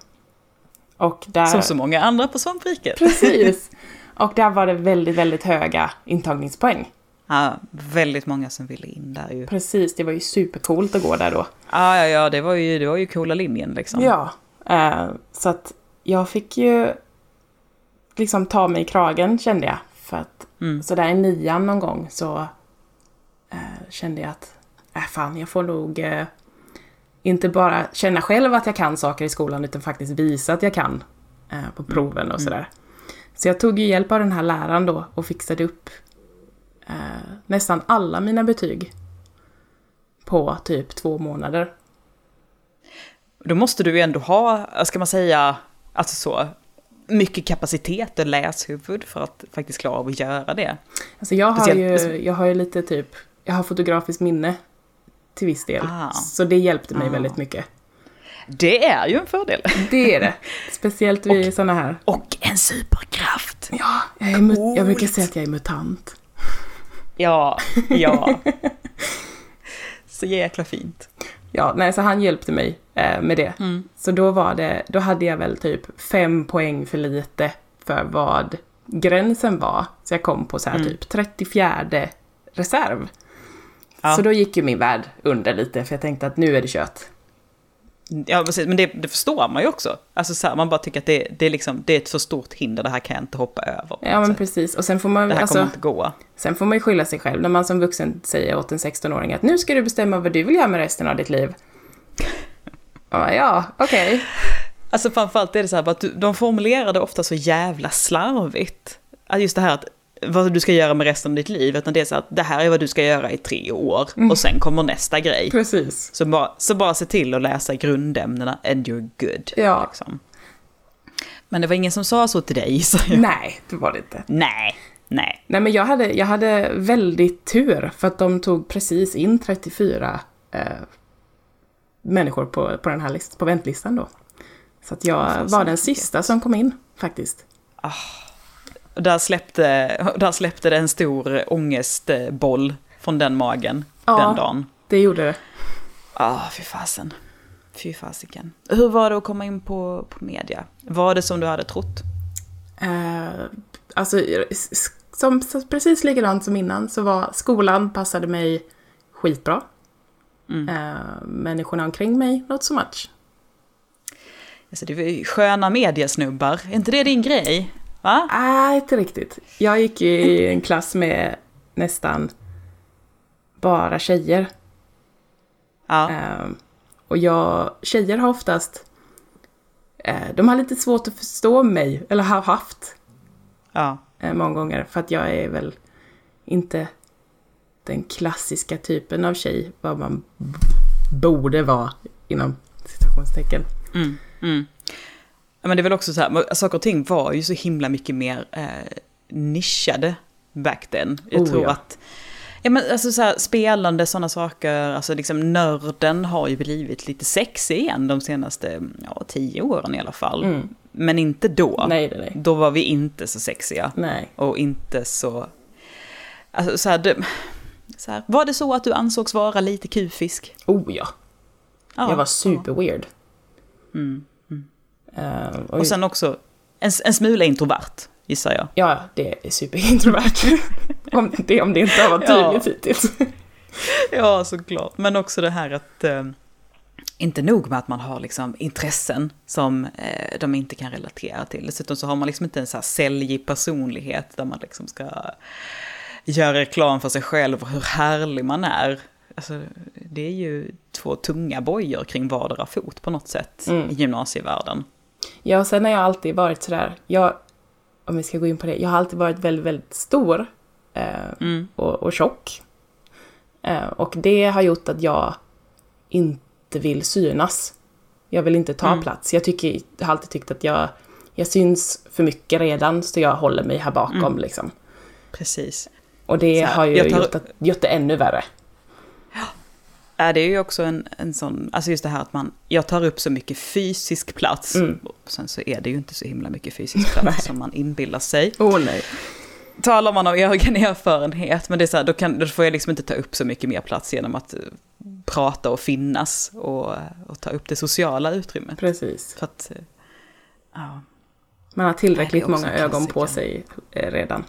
[SPEAKER 2] Och där...
[SPEAKER 1] Äh. Som så många andra på svampriket.
[SPEAKER 2] Precis. Och där var det väldigt, väldigt höga intagningspoäng.
[SPEAKER 1] Ja, väldigt många som ville in där ju.
[SPEAKER 2] Precis, det var ju supercoolt att gå där då.
[SPEAKER 1] Ja, ja, ja, det var ju, det var ju coola linjen liksom.
[SPEAKER 2] Ja, eh, så att jag fick ju liksom ta mig i kragen kände jag. För att
[SPEAKER 1] Mm.
[SPEAKER 2] så där i nian någon gång så eh, kände jag att, äh fan, jag får nog eh, inte bara känna själv att jag kan saker i skolan utan faktiskt visa att jag kan eh, på proven och sådär. Så jag tog ju hjälp av den här läraren då och fixade upp eh, nästan alla mina betyg på typ två månader.
[SPEAKER 1] Då måste du ju ändå ha, eh, ska man säga, alltså så, mycket kapacitet och läshuvud för att faktiskt klara av att göra det.
[SPEAKER 2] Alltså jag har,
[SPEAKER 1] Speciellt-
[SPEAKER 2] ju, jag har ju lite typ, jag har fotografiskt minne till viss del.
[SPEAKER 1] Ah.
[SPEAKER 2] Så det hjälpte mig
[SPEAKER 1] Ah.
[SPEAKER 2] väldigt mycket.
[SPEAKER 1] Det är ju en fördel.
[SPEAKER 2] Det är det. Speciellt vid sådana här.
[SPEAKER 1] Och en superkraft!
[SPEAKER 2] Ja, jag, är mu- jag brukar
[SPEAKER 1] Coolt.
[SPEAKER 2] säga att jag är mutant.
[SPEAKER 1] Ja, ja. Så jäkla fint.
[SPEAKER 2] Ja, nej, så han hjälpte mig eh, med det.
[SPEAKER 1] Mm.
[SPEAKER 2] Så då var det, då hade jag väl typ fem poäng för lite för vad gränsen var. Så jag kom på så
[SPEAKER 1] Mm.
[SPEAKER 2] här typ 34 reserv.
[SPEAKER 1] Ja.
[SPEAKER 2] Så då gick ju min värld under lite, för jag tänkte att nu är det kört.
[SPEAKER 1] Ja, precis. Men det, det förstår man ju också. Alltså så här, man bara tycker att det, det, är liksom, det är ett så stort hinder, det här kan jag inte hoppa över.
[SPEAKER 2] Ja, men
[SPEAKER 1] Så
[SPEAKER 2] precis. Och sen får man
[SPEAKER 1] det här kommer
[SPEAKER 2] alltså,
[SPEAKER 1] inte gå.
[SPEAKER 2] Sen får man ju skylla sig själv när man som vuxen säger åt en 16-åring att nu ska du bestämma vad du vill göra med resten av ditt liv. Ja, ja okej.
[SPEAKER 1] Alltså framförallt är det så här, att du- de formulerar det ofta så jävla slarvigt. Att Just det här att vad du ska göra med resten av ditt liv, utan det är så att det här är vad du ska göra i tre år och sen kommer nästa grej.
[SPEAKER 2] Precis.
[SPEAKER 1] Så bara, så bara se till att läsa grundämnena and you're good.
[SPEAKER 2] Ja.
[SPEAKER 1] Liksom. Men det var ingen som sa så till dig, så jag.
[SPEAKER 2] Nej, det var det inte.
[SPEAKER 1] Nej, nej.
[SPEAKER 2] Nej, men jag hade, jag hade väldigt tur för att de tog precis in 34 eh, människor på, på den här list, på väntlistan då. Så att jag
[SPEAKER 1] Fan, så
[SPEAKER 2] var den
[SPEAKER 1] mycket.
[SPEAKER 2] sista som kom in faktiskt.
[SPEAKER 1] Och där släppte, där släppte det en stor ångestboll från den magen
[SPEAKER 2] Ja.
[SPEAKER 1] den dagen.
[SPEAKER 2] Det gjorde det.
[SPEAKER 1] Ah, fy fasen. Fy fasiken. Hur var det att komma in på, på media? Var det som du hade trott?
[SPEAKER 2] Eh, alltså, s- s- som, s- precis likadant som innan så var skolan passade mig skitbra.
[SPEAKER 1] Mm.
[SPEAKER 2] Eh, människorna omkring mig, not so much.
[SPEAKER 1] Alltså, det var ju sköna mediesnubbar. Är inte det din grej? Va?
[SPEAKER 2] Nej, inte riktigt. Jag gick ju i en klass med nästan bara tjejer.
[SPEAKER 1] Ja.
[SPEAKER 2] Eh, och jag, tjejer har oftast, eh, de har lite svårt att förstå mig, eller har haft.
[SPEAKER 1] ja.
[SPEAKER 2] eh, många gånger för att jag är väl inte den klassiska typen av tjej vad man b- borde vara inom citationstecken.
[SPEAKER 1] Mm, mm. Ja, Men det är väl också så här, men saker och ting var ju så himla mycket mer eh, nischade back then. Jag
[SPEAKER 2] Oh,
[SPEAKER 1] tror
[SPEAKER 2] ja.
[SPEAKER 1] att, ja men alltså så här, spelande sådana saker, alltså liksom nörden har ju blivit lite sexig igen de senaste, ja, tio åren i alla fall.
[SPEAKER 2] Mm.
[SPEAKER 1] Men inte då.
[SPEAKER 2] Nej, nej, nej.
[SPEAKER 1] Då var vi inte så sexiga
[SPEAKER 2] Nej.
[SPEAKER 1] och inte så, alltså så här, det, så här, var det så att du ansågs vara lite kufisk?
[SPEAKER 2] Oh ja,
[SPEAKER 1] Ja.
[SPEAKER 2] jag var super weird.
[SPEAKER 1] Mm, mm.
[SPEAKER 2] Eh, och,
[SPEAKER 1] Och sen också en, en smula introvert, gissar jag.
[SPEAKER 2] Ja, det är superintrovert. om, det, om det inte har varit
[SPEAKER 1] Ja.
[SPEAKER 2] tydligt hittills.
[SPEAKER 1] Ja, såklart. Men också det här att eh, inte nog med att man har liksom intressen som eh, de inte kan relatera till. Dessutom så har man liksom inte en så här säljig personlighet där man liksom ska göra reklam för sig själv och hur härlig man är. Alltså, det är ju två tunga bojor kring vardera fot på något sätt i gymnasievärlden.
[SPEAKER 2] Ja, och sen har jag alltid varit sådär, jag, om vi ska gå in på det, jag har alltid varit väldigt, väldigt stor eh,
[SPEAKER 1] Mm.
[SPEAKER 2] och, och tjock. Eh, och det har gjort att jag inte vill synas. Jag vill inte
[SPEAKER 1] Mm.
[SPEAKER 2] ta plats. Jag, tycker, jag har alltid tyckt att jag, jag syns för mycket redan, så jag håller mig här bakom liksom.
[SPEAKER 1] Precis.
[SPEAKER 2] Och det
[SPEAKER 1] Mm. Så här,
[SPEAKER 2] har ju
[SPEAKER 1] jag tar-
[SPEAKER 2] gjort, att, gjort det ännu värre.
[SPEAKER 1] Ja, Äh, det är ju också en, en sån, alltså just det här att man, jag tar upp så mycket fysisk plats, och sen så är det ju inte så himla mycket fysisk plats som man inbillar sig.
[SPEAKER 2] Åh nej.
[SPEAKER 1] Talar man om egen erfarenhet, men det är så här, då, kan, då får jag liksom inte ta upp så mycket mer plats genom att eh, prata och finnas och, eh, och ta upp det sociala utrymmet.
[SPEAKER 2] Precis.
[SPEAKER 1] För att, eh, ja.
[SPEAKER 2] Man har tillräckligt
[SPEAKER 1] Nej, det är också
[SPEAKER 2] många
[SPEAKER 1] en
[SPEAKER 2] ögon på
[SPEAKER 1] klassiker.
[SPEAKER 2] sig eh, redan.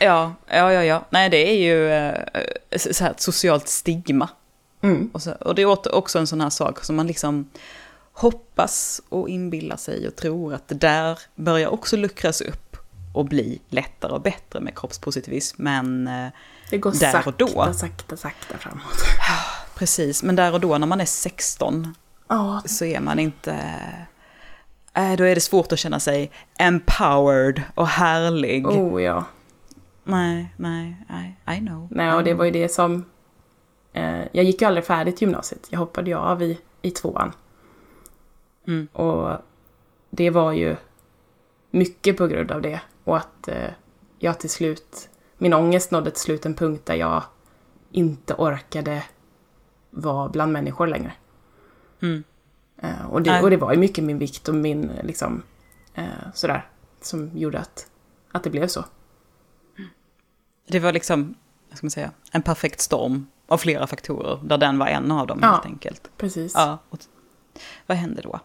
[SPEAKER 1] Ja, ja, ja, ja. Nej, det är ju eh, så så här, ett socialt stigma.
[SPEAKER 2] Mm.
[SPEAKER 1] Och, så, och det är åter- också en sån här sak som man liksom hoppas och inbillar sig och tror att det där börjar också luckras upp och bli lättare och bättre med kroppspositivism. Men eh,
[SPEAKER 2] Det går
[SPEAKER 1] Där och
[SPEAKER 2] sakta,
[SPEAKER 1] då.
[SPEAKER 2] sakta, sakta framåt.
[SPEAKER 1] precis, men där och då när man är 16
[SPEAKER 2] Ja,
[SPEAKER 1] så är man inte... Eh, då är det svårt att känna sig empowered och härlig.
[SPEAKER 2] oh ja.
[SPEAKER 1] Nej, nej, I, I know. Um,
[SPEAKER 2] Nej, och det var ju det som... Eh, jag gick ju aldrig färdigt gymnasiet. Jag hoppade ju av i, i tvåan.
[SPEAKER 1] Mm.
[SPEAKER 2] Och det var ju mycket på grund av det. Och att eh, jag till slut... Min ångest nådde till slut en punkt där jag inte orkade vara bland människor längre.
[SPEAKER 1] Mm.
[SPEAKER 2] Eh, och, det,
[SPEAKER 1] Nej.
[SPEAKER 2] och det var ju mycket min vikt och min eh, liksom... Eh, sådär. Som gjorde att, att det blev så.
[SPEAKER 1] Det var liksom, vad ska man säga, en perfekt storm av flera faktorer, där den var en av dem
[SPEAKER 2] Ja.
[SPEAKER 1] helt enkelt.
[SPEAKER 2] Precis.
[SPEAKER 1] Ja, och t- vad hände då?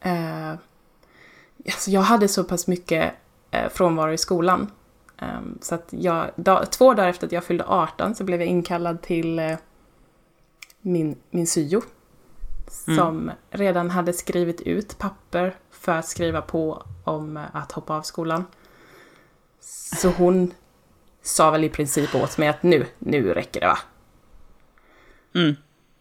[SPEAKER 2] Eh, alltså jag hade så pass mycket eh, frånvaro i skolan. Eh, så att jag, da, två dagar efter att jag fyllde 18 så blev jag inkallad till eh, min, min syo. Som redan hade skrivit ut papper för att skriva på om eh, att hoppa av skolan. Så hon sa väl i princip åt mig att nu, nu räcker det va?
[SPEAKER 1] Mm.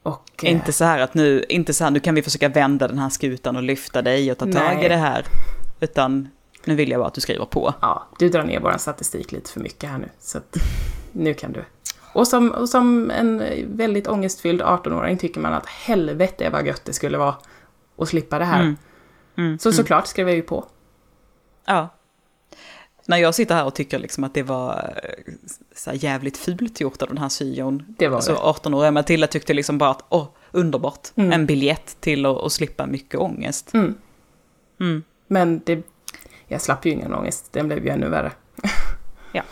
[SPEAKER 2] Och, eh,
[SPEAKER 1] Inte så här att nu, inte så här, nu kan vi försöka vända den här skutan och lyfta dig och ta tag
[SPEAKER 2] Nej.
[SPEAKER 1] i det här. Utan nu vill jag bara att du skriver på.
[SPEAKER 2] ja, du drar ner vår statistik lite för mycket här nu, så att nu kan du. Och som, och som en väldigt ångestfylld 18-åring tycker man att helvete vad gött det skulle vara att slippa det här.
[SPEAKER 1] Mm. Mm,
[SPEAKER 2] Så såklart skrev jag ju på.
[SPEAKER 1] Ja. När jag sitter här och tycker liksom att det var eh, så här jävligt fult gjort av den här syon.
[SPEAKER 2] Det var
[SPEAKER 1] Så
[SPEAKER 2] det.
[SPEAKER 1] 18-åriga Matilda tyckte liksom bara att åh, underbart.
[SPEAKER 2] Mm.
[SPEAKER 1] En biljett till att, att slippa mycket ångest.
[SPEAKER 2] Mm.
[SPEAKER 1] Mm.
[SPEAKER 2] Men det, jag slapp ju ingen ångest, den blev ju ännu värre.
[SPEAKER 1] Nej,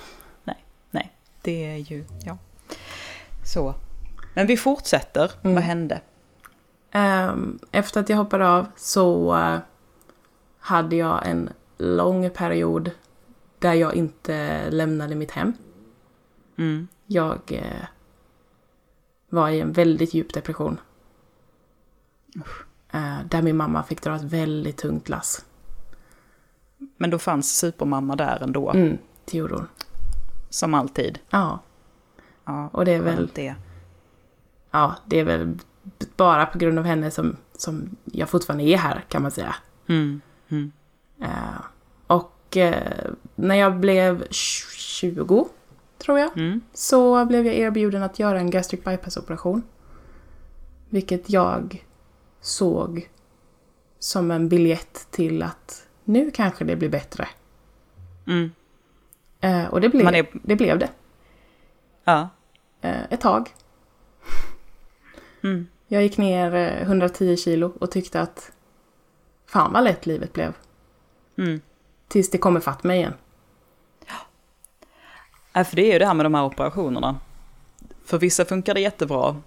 [SPEAKER 1] det är ju, ja. Så. Men vi fortsätter.
[SPEAKER 2] Mm.
[SPEAKER 1] Vad hände?
[SPEAKER 2] Ehm, efter att jag hoppade av så eh, hade jag en lång period där jag inte lämnade mitt hem.
[SPEAKER 1] Mm.
[SPEAKER 2] Jag eh, var i en väldigt djup depression. Eh, där min mamma fick dra ett väldigt tungt lass.
[SPEAKER 1] Men då fanns supermamma där ändå,
[SPEAKER 2] Mm, det gjorde hon.
[SPEAKER 1] som alltid.
[SPEAKER 2] Ja,
[SPEAKER 1] Ja,
[SPEAKER 2] och det är
[SPEAKER 1] väl
[SPEAKER 2] väl,
[SPEAKER 1] det.
[SPEAKER 2] ja, det är väl b- bara på grund av henne som, som jag fortfarande är här, kan man säga.
[SPEAKER 1] Mm. Mm.
[SPEAKER 2] Eh, och eh, när jag blev 20, tror jag,
[SPEAKER 1] Mm.
[SPEAKER 2] så blev jag erbjuden att göra en gastric bypass-operation. Vilket jag såg som en biljett till att nu kanske det blir bättre.
[SPEAKER 1] Mm.
[SPEAKER 2] Eh, och det blev,
[SPEAKER 1] Man är-
[SPEAKER 2] det blev det.
[SPEAKER 1] Ja.
[SPEAKER 2] Eh, ett tag.
[SPEAKER 1] Mm.
[SPEAKER 2] Jag gick ner eh, 110 kilo och tyckte att fan vad lätt livet blev.
[SPEAKER 1] Mm.
[SPEAKER 2] Tills det kom ifatt mig igen.
[SPEAKER 1] ja, Äh, för det är ju det här med de här operationerna. För vissa funkar det jättebra,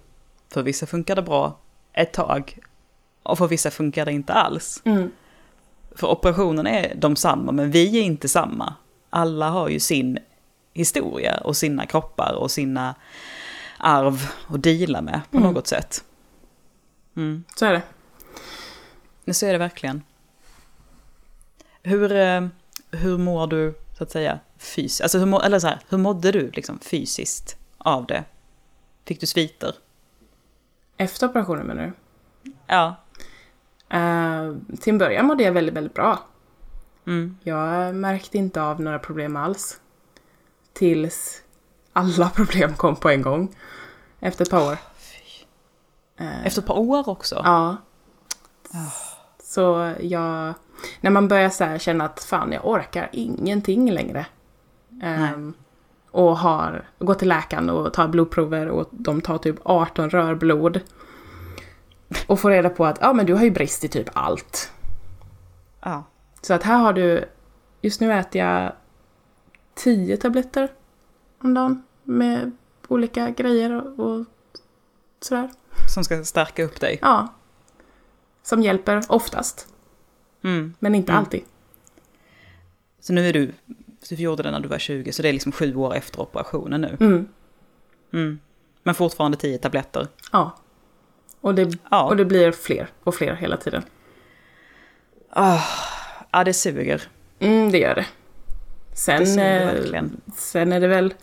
[SPEAKER 1] för vissa funkar det bra ett tag och för vissa funkar det inte alls. För operationerna är de samma, men vi är inte samma. Alla har ju sin historia och sina kroppar och sina arv att deala med på något sätt. Mm.
[SPEAKER 2] Så är det.
[SPEAKER 1] Så är det verkligen. Hur, eh, hur mår du, så att säga, fysiskt? Alltså, hur, må, eller så här, hur mådde du liksom, fysiskt av det? Fick du sviter?
[SPEAKER 2] Efter operationen menar du?
[SPEAKER 1] Ja.
[SPEAKER 2] Eh, till en början mådde jag väldigt, väldigt bra.
[SPEAKER 1] Mm.
[SPEAKER 2] Jag märkte inte av några problem alls. Tills alla problem kom på en gång. Efter ett par år. Eh,
[SPEAKER 1] Efter ett par år också?
[SPEAKER 2] Ja. Så jag... När man börjar så här känna att fan, jag orkar ingenting längre. Ehm, och har, går till läkaren och tar blodprover och de tar typ 18 rör blod. Och får reda på att ja, men du har ju brist i typ allt.
[SPEAKER 1] Ja.
[SPEAKER 2] Så att här har du, just nu äter jag 10 tabletter om dagen med olika grejer och, och sådär.
[SPEAKER 1] Som ska stärka upp dig?
[SPEAKER 2] Ja. Som hjälper oftast,
[SPEAKER 1] Mm.
[SPEAKER 2] men inte
[SPEAKER 1] Mm.
[SPEAKER 2] alltid.
[SPEAKER 1] Så nu är du, du gjorde det när du var 20, så det är liksom sju år efter operationen nu.
[SPEAKER 2] Mm.
[SPEAKER 1] Mm. Men fortfarande tio tabletter?
[SPEAKER 2] Ja. Och det,
[SPEAKER 1] Ja.
[SPEAKER 2] och det blir fler och fler hela tiden.
[SPEAKER 1] Ja, Ah. det suger.
[SPEAKER 2] Mm, det gör det. Sen,
[SPEAKER 1] Det suger
[SPEAKER 2] eh,
[SPEAKER 1] verkligen.
[SPEAKER 2] sen är det väl...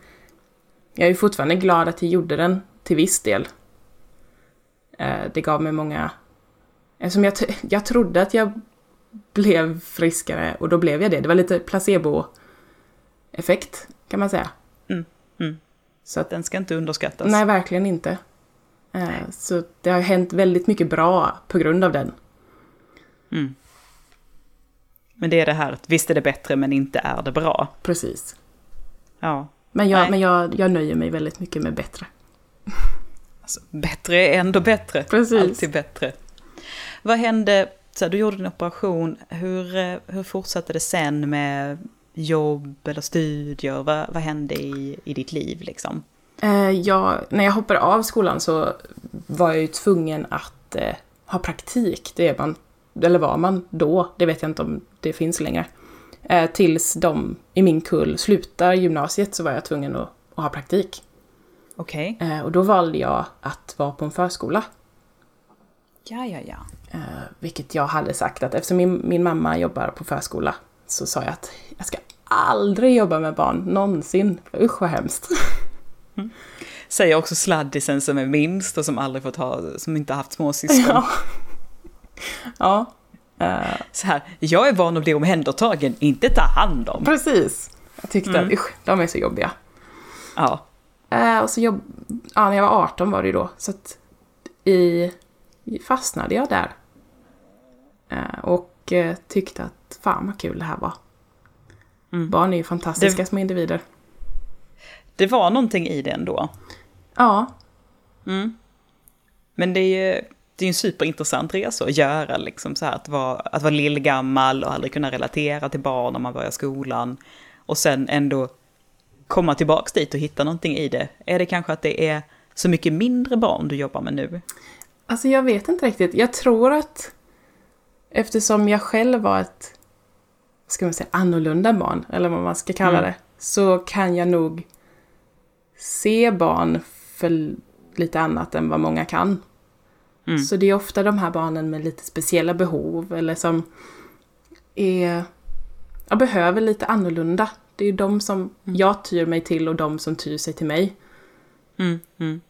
[SPEAKER 2] Jag är ju fortfarande glad att jag gjorde den till viss del. Eh, det gav mig många... Eftersom jag, t- jag trodde att jag blev friskare och då blev jag det. Det var lite placeboeffekt kan man säga.
[SPEAKER 1] Mm, mm.
[SPEAKER 2] Så att,
[SPEAKER 1] Den ska inte underskattas.
[SPEAKER 2] nej, verkligen inte. Eh, så det har hänt väldigt mycket bra på grund av den.
[SPEAKER 1] Mm. Men det är det här, att visst är det bättre men inte är det bra.
[SPEAKER 2] Precis.
[SPEAKER 1] Ja.
[SPEAKER 2] Men, jag,
[SPEAKER 1] Nej.
[SPEAKER 2] men jag, jag nöjer mig väldigt mycket med bättre.
[SPEAKER 1] Alltså, bättre är ändå bättre.
[SPEAKER 2] Precis.
[SPEAKER 1] Alltid bättre. Vad hände, så här, du gjorde din operation, hur, eh, hur fortsatte det sen med jobb eller studier? Vad, vad hände i, i ditt liv liksom?
[SPEAKER 2] Eh, jag, när jag hoppade av skolan så var jag ju tvungen att eh, ha praktik. Det är man, eller var man då, det vet jag inte om det finns längre. Eh, tills de i min kull slutar gymnasiet så var jag tvungen att, att ha praktik.
[SPEAKER 1] Okej.
[SPEAKER 2] Eh, och då valde jag att vara på en förskola.
[SPEAKER 1] Ja, ja, ja.
[SPEAKER 2] Eh, vilket jag hade sagt att eftersom min, min mamma jobbar på förskola så sa jag att jag ska aldrig jobba med barn, någonsin. Usch vad hemskt.
[SPEAKER 1] Säger också sladdisen som är minst och som aldrig fått ha, som inte haft småsyskon.
[SPEAKER 2] Ja. ja. Eh,
[SPEAKER 1] Så här, jag är van att bli omhändertagen, inte ta hand om.
[SPEAKER 2] precis. Jag tyckte att usch, de är så jobbiga.
[SPEAKER 1] Ja.
[SPEAKER 2] Eh, och så jobb... ja, när jag var 18 var det ju då, så att i... fastnade jag där. Eh, och eh, tyckte att fan vad kul det här var. Barn är ju fantastiska
[SPEAKER 1] Det-
[SPEAKER 2] små individer.
[SPEAKER 1] Det var någonting i det ändå.
[SPEAKER 2] Ja,
[SPEAKER 1] Men det är ju det är ju en superintressant resa att göra, liksom så här, att vara, att vara lillgammal och aldrig kunna relatera till barn när man börjar skolan. Och sen ändå komma tillbaks dit och hitta någonting i det. Är det kanske att det är så mycket mindre barn du jobbar med nu?
[SPEAKER 2] Alltså jag vet inte riktigt. Jag tror att eftersom jag själv var ett, vad ska man säga, annorlunda barn, eller vad man ska kalla det, så kan jag nog se barn för lite annat än vad många kan. Så det är ofta de här barnen med lite speciella behov eller som är, ja, behöver lite annorlunda. Det är ju de som jag tyr mig till och de som tyr sig till mig.
[SPEAKER 1] Mm, mm.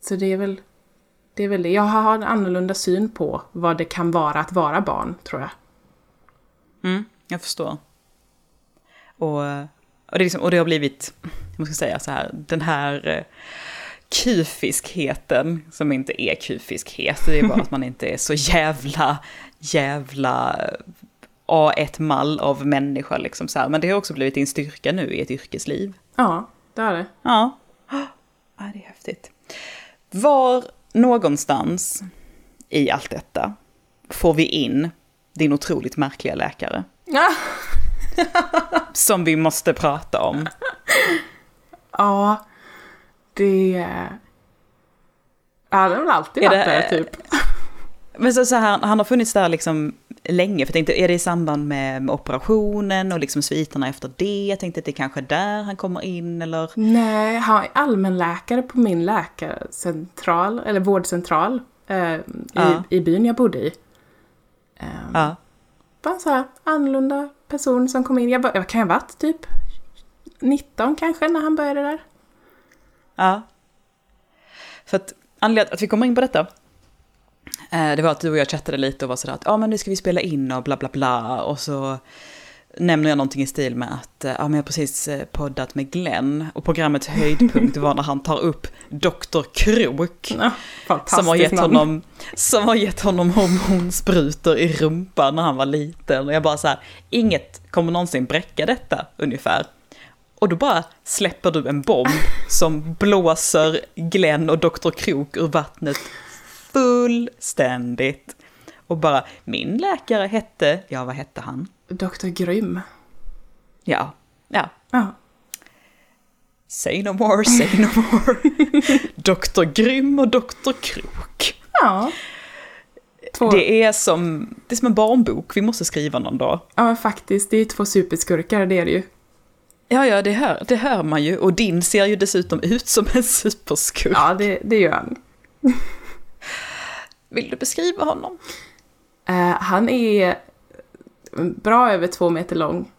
[SPEAKER 2] Så det är väl det. Är väl det. Jag har en annorlunda syn på vad det kan vara att vara barn, tror jag.
[SPEAKER 1] Mm, jag förstår. Och, och, det är liksom, och det har blivit, jag måste säga så här, den här eh, kufiskheten, som inte är kufiskhet, det är bara att man inte är så jävla, jävla eh, A1-mall av människa liksom så här. Men det har också blivit din styrka nu i ett yrkesliv.
[SPEAKER 2] Ja, det är det.
[SPEAKER 1] Ja. Ja, det är häftigt. Var någonstans i allt detta får vi in din otroligt märkliga läkare?
[SPEAKER 2] Ja,
[SPEAKER 1] som vi måste prata om.
[SPEAKER 2] ja det... är- Ja, det har väl alltid
[SPEAKER 1] Är
[SPEAKER 2] varit
[SPEAKER 1] det-
[SPEAKER 2] det, typ.
[SPEAKER 1] Men så, så här, han har funnits där liksom länge, för jag tänkte, är det i samband med, med operationen och liksom sviterna efter det? Jag tänkte att det kanske är där han kommer in eller...
[SPEAKER 2] Nej, han är allmänläkare på min läkarcentral, eller vårdcentral. eh, i,
[SPEAKER 1] Ja.
[SPEAKER 2] i byn jag bodde i. Eh,
[SPEAKER 1] Ja.
[SPEAKER 2] Bara en så här annorlunda person som kom in. Jag, bara, jag kan ha varit typ 19 kanske när han började där.
[SPEAKER 1] Ja. För att anledningen till att vi kom in på detta, eh, det var att du och jag chattade lite och var sådär att ja men nu ska vi spela in och bla bla bla och så nämner jag någonting i stil med att eh, ja men jag har precis eh, poddat med Glenn och programmets höjdpunkt var när han tar upp Dr. Krok.
[SPEAKER 2] Ja, fantastiskt
[SPEAKER 1] Som har, gett
[SPEAKER 2] namn.
[SPEAKER 1] honom, som har gett honom hormonsprutor i rumpan när han var liten. Och jag bara så här, inget kommer någonsin bräcka detta ungefär. Och då bara släpper du en bomb som blåser Glenn och Dr. Krok ur vattnet fullständigt. Och bara, min läkare hette, ja vad hette han?
[SPEAKER 2] Dr. Grym.
[SPEAKER 1] Ja, ja,
[SPEAKER 2] Ja.
[SPEAKER 1] say no more, say no more. Dr. Grym och Dr. Krok.
[SPEAKER 2] ja. Två,
[SPEAKER 1] Det är, som, det är som en barnbok vi måste skriva någon dag.
[SPEAKER 2] Ja men faktiskt, det är ju två superskurkar, det är det ju.
[SPEAKER 1] Ja, ja, det hör, det hör man ju. Och din ser ju dessutom ut som en superskurk.
[SPEAKER 2] Ja, det, det gör han.
[SPEAKER 1] Vill du beskriva honom?
[SPEAKER 2] Eh, han är eh, bra över två meter lång.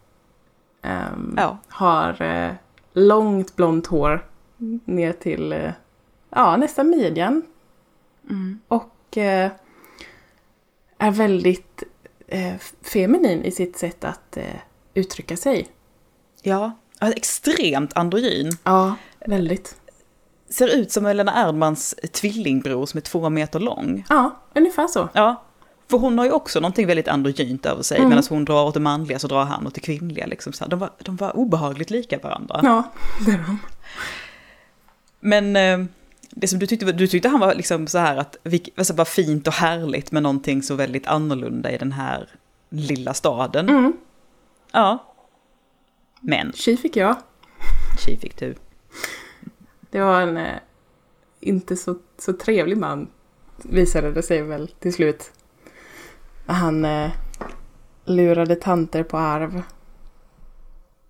[SPEAKER 2] Ehm,
[SPEAKER 1] Ja.
[SPEAKER 2] Har eh, långt blont hår ner till eh, ja, nästan midjan.
[SPEAKER 1] Mm.
[SPEAKER 2] Och eh, är väldigt eh, feminin i sitt sätt att eh, uttrycka sig.
[SPEAKER 1] Ja. Extremt androgyn.
[SPEAKER 2] Ja, väldigt.
[SPEAKER 1] Ser ut som Helena Erdmans tvillingbror som är två meter lång.
[SPEAKER 2] Ja, ungefär så.
[SPEAKER 1] Ja. För hon har ju också någonting väldigt androgynt över sig. Medan hon drar åt det manliga så drar han åt det kvinnliga. Liksom så här. De, var, de var obehagligt lika varandra.
[SPEAKER 2] Ja, det är de.
[SPEAKER 1] Men eh, det som du tyckte, var- du tyckte han var liksom så här att, vilk- alltså vad fint och härligt med någonting så väldigt annorlunda i den här lilla staden.
[SPEAKER 2] Mm.
[SPEAKER 1] Ja. Men,
[SPEAKER 2] Tji fick jag.
[SPEAKER 1] tji fick du.
[SPEAKER 2] Det var en eh, inte så, så trevlig man, visade det sig väl till slut. Han eh, lurade tanter på arv.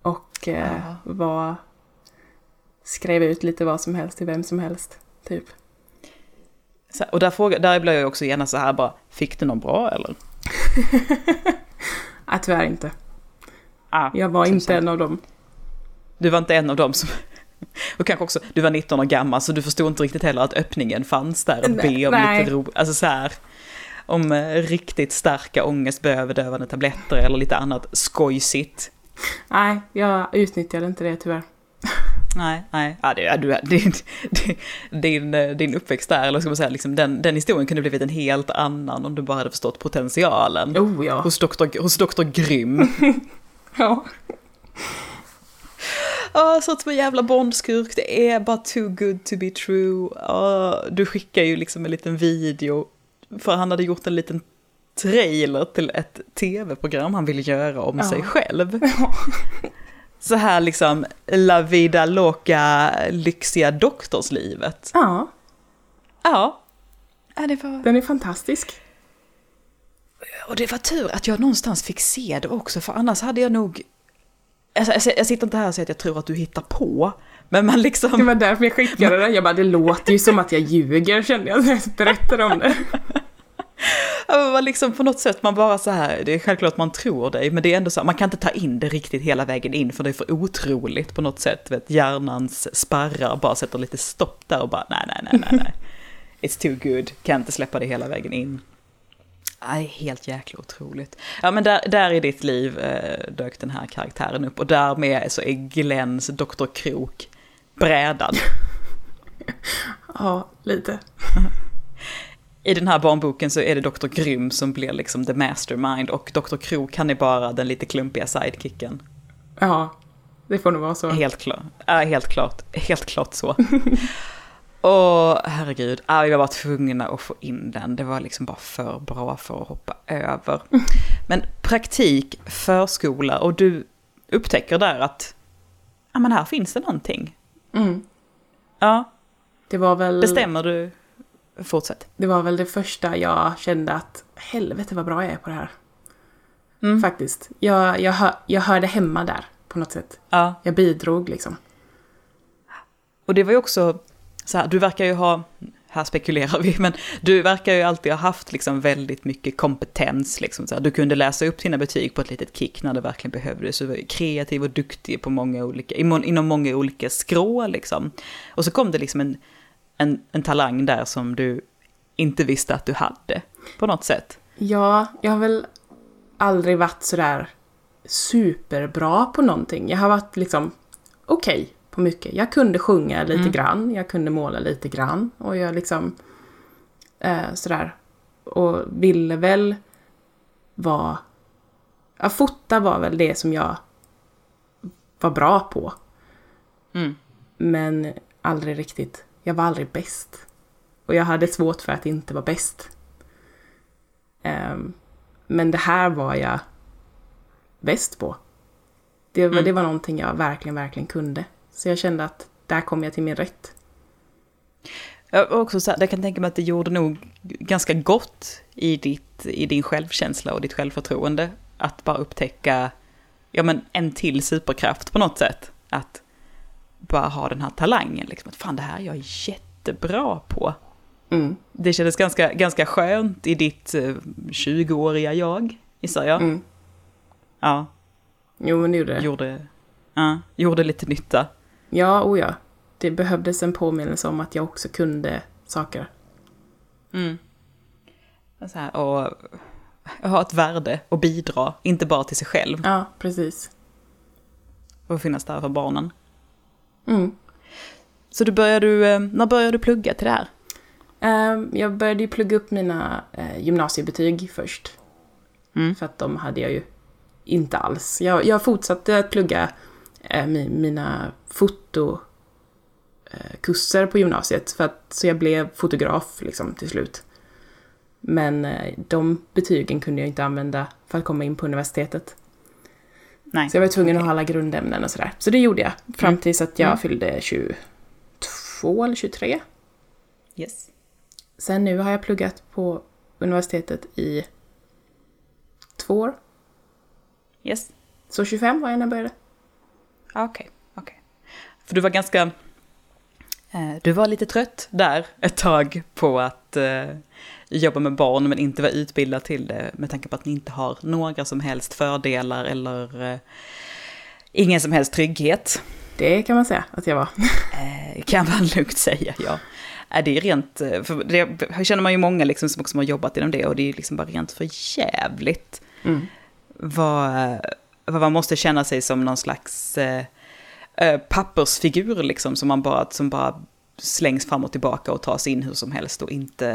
[SPEAKER 2] Och eh,
[SPEAKER 1] Ja.
[SPEAKER 2] var, skrev ut lite vad som helst till vem som helst, typ.
[SPEAKER 1] Så, och där, fråga, där blev jag också gärna så här bara, fick du någon bra eller?
[SPEAKER 2] Nej, tyvärr inte.
[SPEAKER 1] Ah,
[SPEAKER 2] Jag var
[SPEAKER 1] som
[SPEAKER 2] inte
[SPEAKER 1] sagt.
[SPEAKER 2] en av dem.
[SPEAKER 1] Du var inte en av dem som... Och kanske också, du var 19 år gammal så du förstod inte riktigt heller att öppningen fanns där att be om
[SPEAKER 2] Nej.
[SPEAKER 1] lite ro, alltså så här. Om eh, riktigt starka ångestbeöverdövande tabletter eller lite annat skojsigt.
[SPEAKER 2] Nej, jag utnyttjade inte det tyvärr.
[SPEAKER 1] Nej, nej. Ja, det, ja, du, din, din, eh, din uppväxt där, eller vad ska man säga, liksom den, den historien kunde blivit en helt annan om du bara hade förstått potentialen.
[SPEAKER 2] Oh ja.
[SPEAKER 1] Hos doktor, hos doktor Grym.
[SPEAKER 2] ja.
[SPEAKER 1] Åh, så som en jävla Bondskurk, det är bara too good to be true. Åh, du skickar ju liksom en liten video, för han hade gjort en liten trailer till ett tv-program han ville göra om
[SPEAKER 2] Ja.
[SPEAKER 1] sig själv. Så här liksom, la vida loca, lyxiga doktorslivet.
[SPEAKER 2] Ja,
[SPEAKER 1] Ja. ja det var...
[SPEAKER 2] den är fantastisk.
[SPEAKER 1] Och det var tur att jag någonstans fick se det också, för annars hade jag nog... Alltså, jag, jag sitter inte här och säger att jag tror att du hittar på, men man
[SPEAKER 2] Det
[SPEAKER 1] liksom...
[SPEAKER 2] var därför jag skickade den. Jag bara, det låter ju som att jag ljuger kände jag när jag berättade om det.
[SPEAKER 1] ja, Man liksom på något sätt, man bara så här, det är självklart att man tror dig, men det är ändå så här, man kan inte ta in det riktigt hela vägen in, för det är för otroligt på något sätt. Vet, hjärnans sparrar bara sätter lite stopp där och bara nej, nej, nej, nej, nej. It's too good, kan inte släppa det hela vägen in. Nej, helt jäkla otroligt. Ja, men där, där i ditt liv eh, dök den här karaktären upp och därmed så är Glens Dr. Krok brädad
[SPEAKER 2] Ja, lite.
[SPEAKER 1] I den här barnboken så är det Dr. Grym som blir liksom the mastermind och Dr. Krok han är bara den lite klumpiga sidekicken.
[SPEAKER 2] Ja, det får nog vara så.
[SPEAKER 1] Helt klart. Ja, helt klart. Helt klart så. Och herregud, ja, vi var bara tvungna att få in den. Det var liksom bara för bra för att hoppa över. Men praktik, förskola och du upptäcker där att ja men här finns det någonting.
[SPEAKER 2] Mm.
[SPEAKER 1] Ja,
[SPEAKER 2] Det, var väl,
[SPEAKER 1] bestämmer du? Fortsätt.
[SPEAKER 2] det var väl det första jag kände att helvete vad bra jag är på det här.
[SPEAKER 1] Mm.
[SPEAKER 2] Faktiskt. Jag, jag, hör, jag hörde hemma där på något sätt.
[SPEAKER 1] Ja.
[SPEAKER 2] Jag bidrog liksom.
[SPEAKER 1] Och det var ju också så här, du verkar ju ha, här spekulerar vi, men du verkar ju alltid ha haft liksom väldigt mycket kompetens. Liksom, så här. Du kunde läsa upp dina betyg på ett litet kick när det verkligen behövdes. Du var kreativ och duktig på många olika, inom många olika skrå. Liksom. Och så kom det liksom en, en, en talang där som du inte visste att du hade på något sätt.
[SPEAKER 2] Ja, jag har väl aldrig varit sådär superbra på någonting. Jag har varit liksom okej okay på mycket. Jag kunde sjunga lite mm. grann, jag kunde måla lite grann och jag liksom eh, sådär. Och ville väl vara... Ja, fota var väl det som jag var bra på.
[SPEAKER 1] Mm.
[SPEAKER 2] Men aldrig riktigt, jag var aldrig bäst. Och jag hade svårt för att inte vara bäst. Um, men det här var jag bäst på. Det var, mm. det var någonting jag verkligen, verkligen kunde. Så jag kände att där kom jag till min rätt.
[SPEAKER 1] Jag, också så här, jag kan tänka mig att det gjorde nog ganska gott i, ditt, i din självkänsla och ditt självförtroende. Att bara upptäcka ja, men en till superkraft på något sätt. Att bara ha den här talangen. Liksom, att fan, det här är jag jättebra på.
[SPEAKER 2] Mm.
[SPEAKER 1] Det kändes ganska, ganska skönt i ditt eh, 20-åriga jag, gissar jag.
[SPEAKER 2] Mm.
[SPEAKER 1] Ja.
[SPEAKER 2] Jo, men det gjorde det.
[SPEAKER 1] Gjorde, ja, gjorde lite nytta.
[SPEAKER 2] Ja, och ja. Det behövdes en påminnelse om att jag också kunde saker.
[SPEAKER 1] Mm. Så här, och, och ha ett värde och bidra, inte bara till sig själv.
[SPEAKER 2] Ja, precis.
[SPEAKER 1] Och finnas där för barnen.
[SPEAKER 2] Mm.
[SPEAKER 1] Så du började, när började du plugga till det här?
[SPEAKER 2] Ehm, Jag började ju plugga upp mina eh, gymnasiebetyg först.
[SPEAKER 1] Mm.
[SPEAKER 2] För att de hade jag ju inte alls. Jag, jag fortsatte att plugga eh, mina fotokurser eh, på gymnasiet. För att, så jag blev fotograf liksom, till slut. Men eh, de betygen kunde jag inte använda för att komma in på universitetet.
[SPEAKER 1] Nej.
[SPEAKER 2] Så jag var tvungen att ha alla grundämnen och sådär. Så det gjorde jag. Fram
[SPEAKER 1] Mm.
[SPEAKER 2] tills att jag
[SPEAKER 1] Mm.
[SPEAKER 2] fyllde 22 eller 23.
[SPEAKER 1] Yes.
[SPEAKER 2] Sen nu har jag pluggat på universitetet i två år.
[SPEAKER 1] Yes.
[SPEAKER 2] Så 25 var jag när jag började.
[SPEAKER 1] Ja, Okej, okej. För du var ganska... eh, Du var lite trött där ett tag på att eh, jobba med barn men inte vara utbildad till det med tanke på att ni inte har några som helst fördelar eller eh, ingen som helst trygghet.
[SPEAKER 2] Det kan man säga att jag var.
[SPEAKER 1] Eh, kan man lugnt säga, ja. Är det är rent, eh, för det här känner man ju många liksom som också har jobbat inom det och det är ju liksom bara rent för jävligt vad, vad man måste känna sig som någon slags eh, eh, pappersfigur liksom, som, man bara, som bara slängs fram och tillbaka och tas in hur som helst och inte,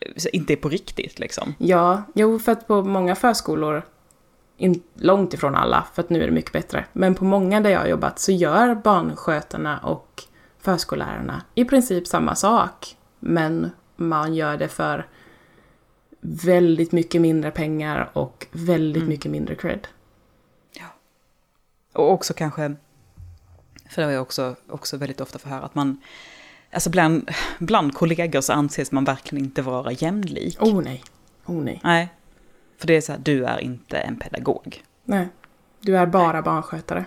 [SPEAKER 1] eh, inte är på riktigt liksom.
[SPEAKER 2] Ja, jo, för att på många förskolor, in, långt ifrån alla, för att nu är det mycket bättre, men på många där jag har jobbat så gör barnskötarna och förskollärarna i princip samma sak, men man gör det för väldigt mycket mindre pengar och väldigt mycket mindre cred.
[SPEAKER 1] Och också kanske, för det har jag också, också väldigt ofta får höra, att man, alltså bland, bland kollegor så anses man verkligen inte vara jämlik.
[SPEAKER 2] Oh nej, oh nej.
[SPEAKER 1] Nej, för det är så här, du är inte en pedagog.
[SPEAKER 2] Nej, du är bara barnskötare.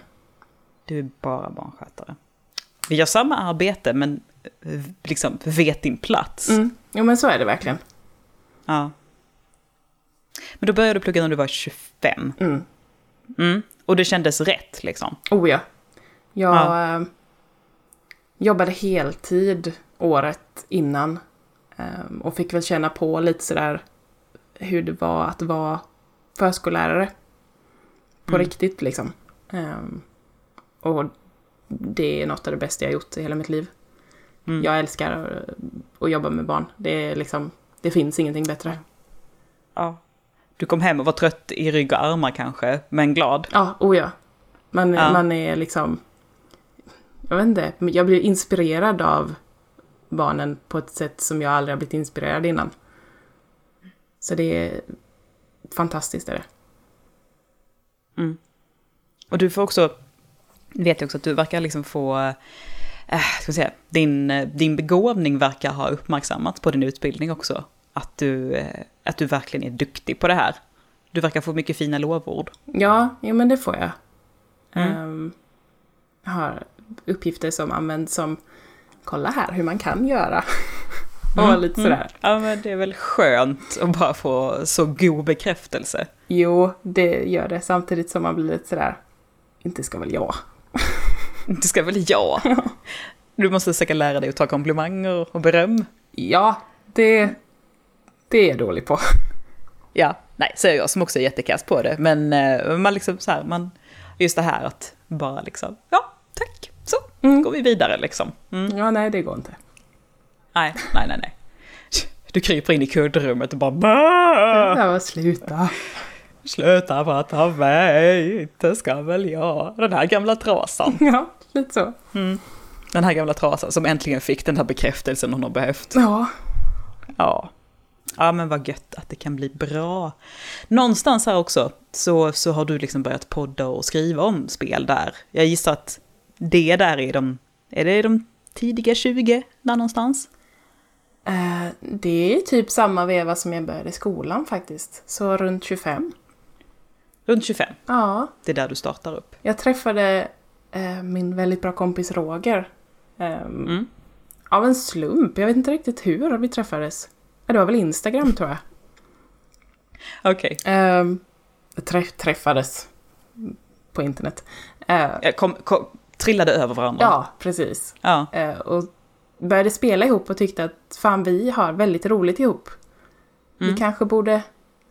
[SPEAKER 1] Du är bara barnskötare. Vi gör samma arbete men eh, liksom vet din plats.
[SPEAKER 2] Mm. Jo, men så är det verkligen.
[SPEAKER 1] Ja. Men då började du plugga när du var 25.
[SPEAKER 2] Mm.
[SPEAKER 1] Mm. Och det kändes rätt liksom.
[SPEAKER 2] Oh ja. Jag
[SPEAKER 1] Ja.
[SPEAKER 2] eh, jobbade heltid året innan. eh, och fick väl känna på lite sådär hur det var att vara förskollärare. På
[SPEAKER 1] Mm.
[SPEAKER 2] riktigt liksom. Eh, och det är något av det bästa jag har gjort i hela mitt liv.
[SPEAKER 1] Mm.
[SPEAKER 2] Jag älskar eh, att, att jobba med barn. Det är liksom, det finns ingenting bättre.
[SPEAKER 1] Ja. Du kom hem och var trött i rygg och armar kanske, men glad.
[SPEAKER 2] Ja, oh ja. Man,
[SPEAKER 1] Ja.
[SPEAKER 2] man är liksom... Jag vet inte, men jag blir inspirerad av barnen på ett sätt som jag aldrig har blivit inspirerad innan. Så det är fantastiskt. Är det.
[SPEAKER 1] Och du får också, vet jag också att du verkar liksom få, eh, ska vi säga, din, eh, din begåvning verkar ha uppmärksammats på din utbildning också. Att du, eh, att du verkligen är duktig på det här. Du verkar få mycket fina lovord.
[SPEAKER 2] Ja, ja men det får jag.
[SPEAKER 1] Mm.
[SPEAKER 2] Ehm, jag har uppgifter som används som kolla här hur man kan göra. Och lite sådär.
[SPEAKER 1] Ja men det är väl skönt att bara få så god bekräftelse.
[SPEAKER 2] Jo, det gör det. Samtidigt som man blir lite sådär, inte ska väl jag.
[SPEAKER 1] Det ska väl jag. Du måste säkert lära dig att ta komplimanger och beröm.
[SPEAKER 2] Ja, det, det är jag dålig på.
[SPEAKER 1] Ja, nej, säger jag som också är jättekast på det. Men eh, man liksom så här, man, just det här att bara liksom, ja, tack, så
[SPEAKER 2] Mm.
[SPEAKER 1] går vi vidare liksom. Mm.
[SPEAKER 2] Ja, nej, det går inte.
[SPEAKER 1] Nej, nej, nej, nej. Du kryper in i kuddrummet och bara "Bäh,
[SPEAKER 2] Ja, sluta.
[SPEAKER 1] Sluta prata om mig, inte ska väl jag. Den här gamla trasan.
[SPEAKER 2] Ja, lite så.
[SPEAKER 1] Den här gamla trasan som äntligen fick den här bekräftelsen hon har behövt.
[SPEAKER 2] Ja,
[SPEAKER 1] Ja. Ja men vad gött att det kan bli bra. Någonstans här också så, så har du liksom börjat podda och skriva om spel där. Jag gissar att det där är de, är det de tidiga 20 där någonstans?
[SPEAKER 2] eh, det är typ samma veva som jag började skolan faktiskt. Så runt 25.
[SPEAKER 1] Runt 25,
[SPEAKER 2] Ja,
[SPEAKER 1] det är där du startar upp.
[SPEAKER 2] jag träffade eh, min väldigt bra kompis Roger. ehm,
[SPEAKER 1] Mm.
[SPEAKER 2] Av en slump, jag vet inte riktigt hur vi träffades. Ja, Det var väl Instagram tror jag.
[SPEAKER 1] Okej,
[SPEAKER 2] Ehm, träff, träffades på internet. Eh,
[SPEAKER 1] Jag kom, kom, trillade över varandra.
[SPEAKER 2] ja, precis.
[SPEAKER 1] ja.
[SPEAKER 2] Eh, och började spela ihop och tyckte att fan vi har väldigt roligt ihop. Vi kanske borde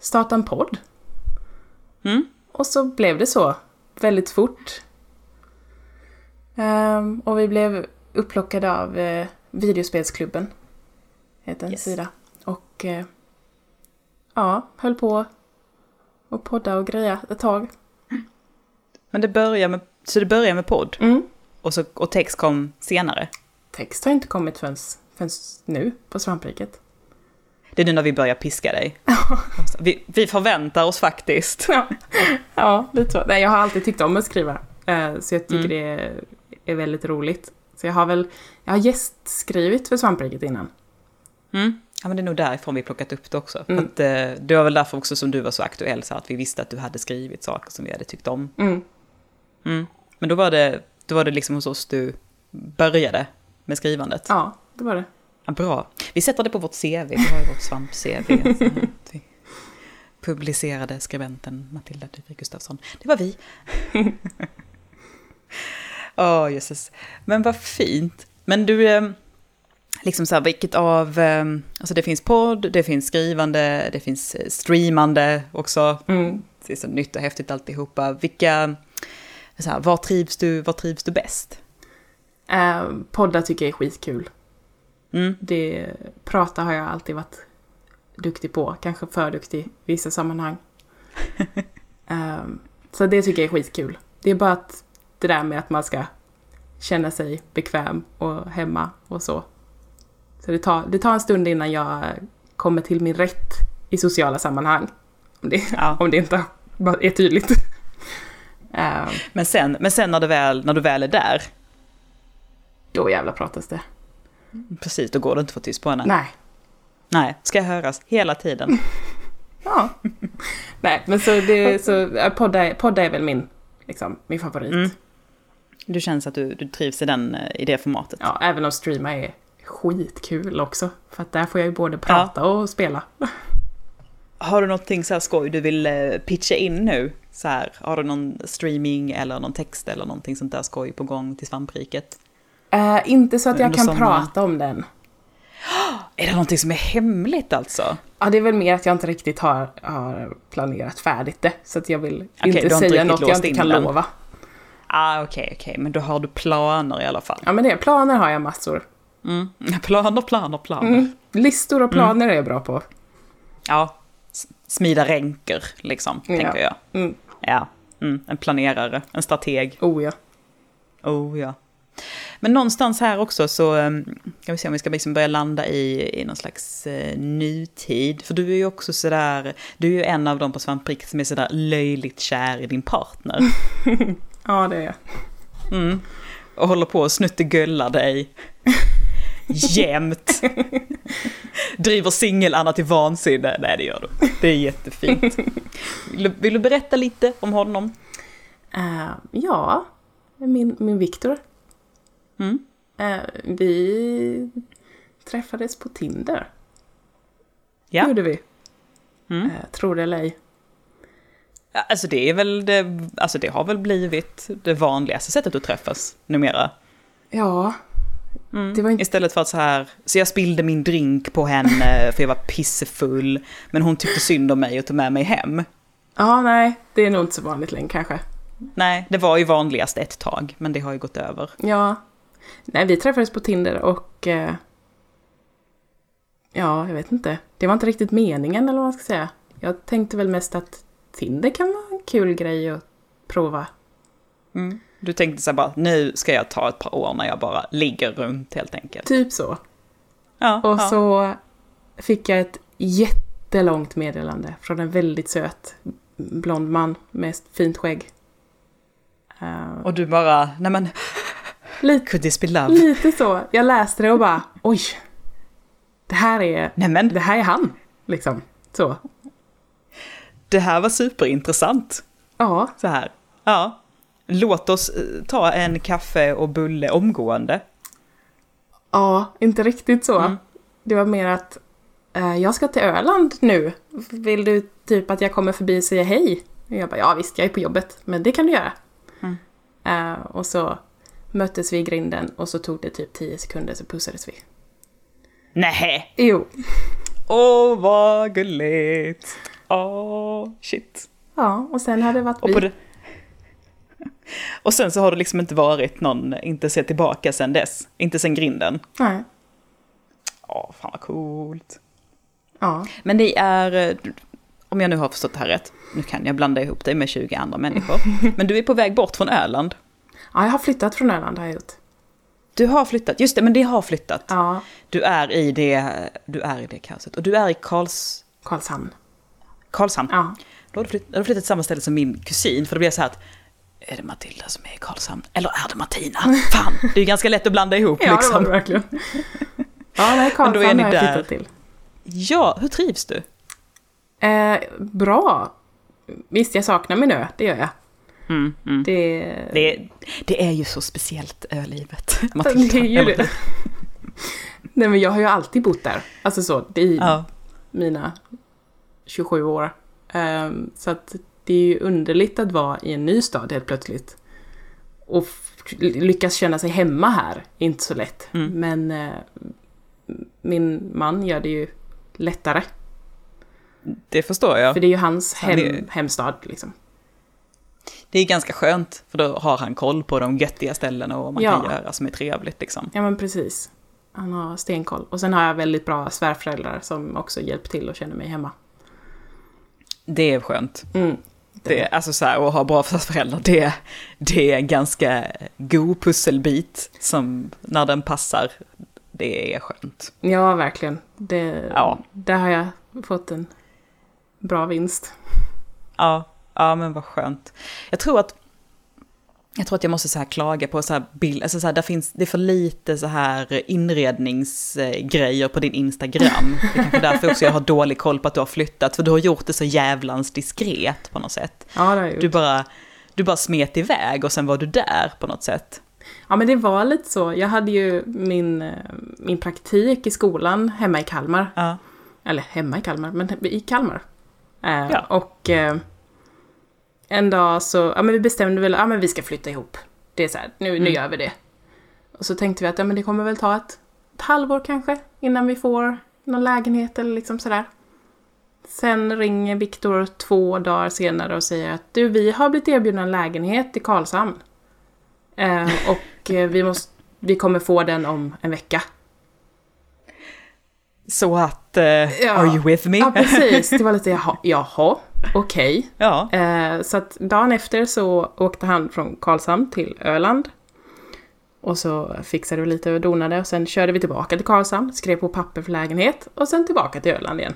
[SPEAKER 2] starta en podd.
[SPEAKER 1] Mm.
[SPEAKER 2] Och så blev det så, väldigt fort. Ehm, och vi blev upplockade av eh, Videospelsklubben, heter en
[SPEAKER 1] Yes.
[SPEAKER 2] sida. Och eh, ja, höll på och podda och greja ett tag.
[SPEAKER 1] Men det börjar med, så det börjar med podd
[SPEAKER 2] Mm.
[SPEAKER 1] och, så, och text kom senare.
[SPEAKER 2] Text har inte kommit förrän, förrän nu på Svampriket.
[SPEAKER 1] Det är nu när vi börjar piska dig. Alltså, Vi, vi förväntar oss faktiskt.
[SPEAKER 2] Ja, ja lite så. Nej, jag har alltid tyckt om att skriva. eh, Så jag tycker
[SPEAKER 1] Mm.
[SPEAKER 2] det är, är väldigt roligt. Så jag har väl, jag har gästskrivit för Svampriket innan.
[SPEAKER 1] Mm. Ja, men det är nog därifrån vi plockat upp det också.
[SPEAKER 2] Mm.
[SPEAKER 1] Att, eh, det var väl därför också som du var så aktuell, så här, att vi visste att du hade skrivit saker som vi hade tyckt om.
[SPEAKER 2] Mm.
[SPEAKER 1] Mm. Men då var, det, då var det liksom hos oss du började med skrivandet. Ja.
[SPEAKER 2] Ja, det var det.
[SPEAKER 1] bra. Vi sätter det på vårt CV, vi har ju vårt svamp-CV. så här, att vi publicerade skribenten Matilda Dyvik Gustafsson. Det var vi. Åh, jösses. Men vad fint. Men du, eh, liksom så här, vilket av... eh, Alltså det finns podd, det finns skrivande, det finns eh, streamande också.
[SPEAKER 2] Mm.
[SPEAKER 1] Det är så nytt och häftigt alltihopa. Vilka... Så här, var, trivs du, var trivs du bäst?
[SPEAKER 2] Eh, poddar tycker jag är skitkul.
[SPEAKER 1] Mm.
[SPEAKER 2] Det, prata har jag alltid varit duktig på, kanske för duktig i vissa sammanhang. Ehm, så det tycker jag är skitkul. Det är bara att det där med att man ska känna sig bekväm och hemma och så. Så det tar, det tar en stund innan jag kommer till min rätt i sociala sammanhang. Om det,
[SPEAKER 1] Ja.
[SPEAKER 2] om det inte bara är tydligt. Ehm,
[SPEAKER 1] Men sen, men sen när, du väl, när du väl är där,
[SPEAKER 2] då jävlar pratas det.
[SPEAKER 1] precis, då går det inte att få tyst på henne.
[SPEAKER 2] Nej. Mm.
[SPEAKER 1] Nej, ska höras hela tiden.
[SPEAKER 2] Ja. Nej, men så, det, så ja, podda, podda är väl min, liksom, min favorit.
[SPEAKER 1] Mm. Du känns att du, du trivs i, den, eh, i det formatet.
[SPEAKER 2] Ja, även om streama är skitkul också. För att där får jag ju både prata och spela.
[SPEAKER 1] Har du någonting så här skoj du vill eh, pitcha in nu? Så här, har du någon streaming eller någon text eller någonting sånt där skoj på gång till svampriket?
[SPEAKER 2] Eh, inte så att jag
[SPEAKER 1] Under
[SPEAKER 2] kan
[SPEAKER 1] sommaren.
[SPEAKER 2] prata om den.
[SPEAKER 1] Är det någonting som är hemligt alltså?
[SPEAKER 2] Ja, det är väl mer att jag inte riktigt har, har planerat färdigt det. Så att jag vill
[SPEAKER 1] Okej, du
[SPEAKER 2] inte
[SPEAKER 1] har inte
[SPEAKER 2] säga
[SPEAKER 1] riktigt
[SPEAKER 2] något jag
[SPEAKER 1] låst
[SPEAKER 2] inte
[SPEAKER 1] in
[SPEAKER 2] kan
[SPEAKER 1] den.
[SPEAKER 2] lova.
[SPEAKER 1] Ah, okej, okej, men då har du planer i alla fall.
[SPEAKER 2] Ja, men det, planer har jag massor.
[SPEAKER 1] Mm. Planer, planer, planer.
[SPEAKER 2] Mm. Listor och planer är jag bra på.
[SPEAKER 1] Ja, s- smida ränker liksom,
[SPEAKER 2] Ja.
[SPEAKER 1] tänker jag.
[SPEAKER 2] Mm.
[SPEAKER 1] Ja, mm. en planerare, en strateg.
[SPEAKER 2] Oh ja.
[SPEAKER 1] Oh ja. Men någonstans här också så eh, kan vi se om vi ska liksom börja landa i, i någon slags eh, nutid. För du är ju också sådär, du är ju en av de på Svampriket som är sådär löjligt kär i din partner.
[SPEAKER 2] Ja, det är jag.
[SPEAKER 1] Mm. Och håller på och snuttegullar dig. Jämt. Driver singel-Anna till vansinne. Nej, det gör du. Det är jättefint. Vill du, vill du berätta lite om honom?
[SPEAKER 2] Eh, ja, min, min Viktor.
[SPEAKER 1] Mm.
[SPEAKER 2] Eh, vi träffades på Tinder.
[SPEAKER 1] Ja.
[SPEAKER 2] gjorde vi.
[SPEAKER 1] Mm.
[SPEAKER 2] Eh, tror det eller ej.
[SPEAKER 1] Ja, Alltså det är väl det, alltså det har väl blivit det vanligaste sättet att träffas numera.
[SPEAKER 2] Ja. Det var inte...
[SPEAKER 1] Istället för att så här, så jag spillde min drink på henne för jag var pissefull, men hon tyckte synd om mig och tog med mig hem.
[SPEAKER 2] Ja, nej. Det är nog inte så vanligt längre kanske.
[SPEAKER 1] Nej, det var ju vanligast ett tag, men det har ju gått över.
[SPEAKER 2] Ja. Nej, vi träffades på Tinder och... Eh, ja, jag vet inte. Det var inte riktigt meningen eller vad man ska säga. Jag tänkte väl mest att Tinder kan vara en kul grej att prova. Mm.
[SPEAKER 1] Du tänkte så här bara, nu ska jag ta ett par år när jag bara ligger runt helt enkelt.
[SPEAKER 2] Typ så.
[SPEAKER 1] Ja,
[SPEAKER 2] Och
[SPEAKER 1] ja.
[SPEAKER 2] så fick jag ett jättelångt meddelande från en väldigt söt blond man med ett fint skägg. Eh,
[SPEAKER 1] och du bara, nej men,
[SPEAKER 2] lite,
[SPEAKER 1] could this be love?
[SPEAKER 2] lite så. Jag läste det och bara oj. Det här är,
[SPEAKER 1] Nej men,
[SPEAKER 2] det här är han. Liksom. Så.
[SPEAKER 1] det här var superintressant.
[SPEAKER 2] Ja,
[SPEAKER 1] Så här, ja. Låt oss eh, ta en kaffe och bulle omgående.
[SPEAKER 2] Ja, inte riktigt så.
[SPEAKER 1] Mm.
[SPEAKER 2] Det var mer att eh, jag ska till Öland nu. Vill du typ att jag kommer förbi och säger hej? Och jag bara, ja visst, jag är på jobbet, men det kan du göra.
[SPEAKER 1] Mm.
[SPEAKER 2] Eh, och så möttes vi i grinden och så tog det typ 10 sekunder så pussades vi.
[SPEAKER 1] Nej,
[SPEAKER 2] Jo,
[SPEAKER 1] åh vad gulligt. Åh, shit.
[SPEAKER 2] ja, och sen hade det varit
[SPEAKER 1] Och, på
[SPEAKER 2] vi.
[SPEAKER 1] det... och sen så har det liksom inte varit någon, inte sett tillbaka sen dess. Inte sen grinden.
[SPEAKER 2] Nej,
[SPEAKER 1] Ja, fan vad coolt.
[SPEAKER 2] ja,
[SPEAKER 1] Men det är, eh, om jag nu har förstått det här rätt, nu kan jag blanda ihop dig med 20 andra människor. Men du är på väg bort från Öland.
[SPEAKER 2] ja, jag har flyttat från Öland har jag gjort.
[SPEAKER 1] Du har flyttat, just det, men det har flyttat.
[SPEAKER 2] Ja,
[SPEAKER 1] Du är i det, du är i det kaoset. Och du är i Karls,
[SPEAKER 2] Karlshamn.
[SPEAKER 1] Karlshamn.
[SPEAKER 2] Ja,
[SPEAKER 1] Då har du flytt- då har du flyttat till samma ställe som min kusin, för då blir jag så här att är det Matilda som är i Karlshamn? Eller är det Martina? Fan, det är ju ganska lätt att blanda ihop
[SPEAKER 2] ja det var
[SPEAKER 1] liksom.
[SPEAKER 2] det verkligen. Ja, nej,
[SPEAKER 1] Men då är
[SPEAKER 2] Karlshamn
[SPEAKER 1] ni
[SPEAKER 2] har jag
[SPEAKER 1] där.
[SPEAKER 2] flyttat till.
[SPEAKER 1] Ja, hur trivs du?
[SPEAKER 2] Eh, bra. Visst, jag saknar min ö, det gör jag.
[SPEAKER 1] Mm, mm.
[SPEAKER 2] Det,
[SPEAKER 1] Det, är- det är ju så speciellt, eh, ölivet.
[SPEAKER 2] det är ju
[SPEAKER 1] eller-
[SPEAKER 2] det. Nej men jag har ju alltid bott där. Alltså så, i
[SPEAKER 1] Ja.
[SPEAKER 2] mina 27 år. Ehm, så att det är ju underligt att vara i en ny stad helt plötsligt. Och f- lyckas känna sig hemma här är inte så lätt.
[SPEAKER 1] Mm.
[SPEAKER 2] Men eh, min man gör det ju lättare.
[SPEAKER 1] Det förstår jag.
[SPEAKER 2] För det är ju hans
[SPEAKER 1] Han är-
[SPEAKER 2] hem, hemstad liksom.
[SPEAKER 1] Det är ganska skönt, för då har han koll på de göttiga ställena och vad man
[SPEAKER 2] Ja.
[SPEAKER 1] kan göra som är trevligt liksom.
[SPEAKER 2] Ja men precis. Han har stenkoll. Och sen har jag väldigt bra svärföräldrar som också hjälpt till och känner mig hemma.
[SPEAKER 1] Det är skönt.
[SPEAKER 2] Mm.
[SPEAKER 1] Det, alltså så här, att ha bra föräldrar, det, det är en ganska god pusselbit som när den passar, det är skönt.
[SPEAKER 2] Ja, verkligen. Det,
[SPEAKER 1] Ja.
[SPEAKER 2] Där har jag fått en bra vinst.
[SPEAKER 1] Ja, ja men vad skönt. Jag tror att jag tror att jag måste så här klaga på så här bild, alltså så här, där finns, det är för lite så här inredningsgrejer på din Instagram. Det är kanske därför också jag har dålig koll på att du har flyttat, för du har gjort det så jävlans diskret på något sätt.
[SPEAKER 2] Ja, det har jag gjort.
[SPEAKER 1] Du bara, du bara smet iväg och sen var du där på något sätt.
[SPEAKER 2] Ja, men det var lite så. Jag hade ju min, eh, min praktik i skolan hemma i Kalmar.
[SPEAKER 1] Ja,
[SPEAKER 2] Eller hemma i Kalmar, men i Kalmar. Eh,
[SPEAKER 1] Ja.
[SPEAKER 2] Och eh, en dag så, ja men vi bestämde väl, ja men vi ska flytta ihop. Det är så här, nu, nu gör vi det. Och så tänkte vi att, ja men det kommer väl ta ett, ett halvår kanske innan vi får någon lägenhet eller liksom sådär. Sen ringer Viktor två dagar senare och säger att du, vi har blivit erbjudna en lägenhet i Karlshamn. Eh, och eh, vi, måste, vi kommer få den om en vecka.
[SPEAKER 1] så att, eh,
[SPEAKER 2] Ja.
[SPEAKER 1] are you with me?
[SPEAKER 2] Ja, precis. Det var lite jaha, jaha okej.
[SPEAKER 1] ja.
[SPEAKER 2] Eh, så att dagen efter så åkte han från Karlshamn till Öland. Och så fixade vi lite och donade och sen körde vi tillbaka till Karlshamn, skrev på papper för lägenhet och sen tillbaka till Öland igen.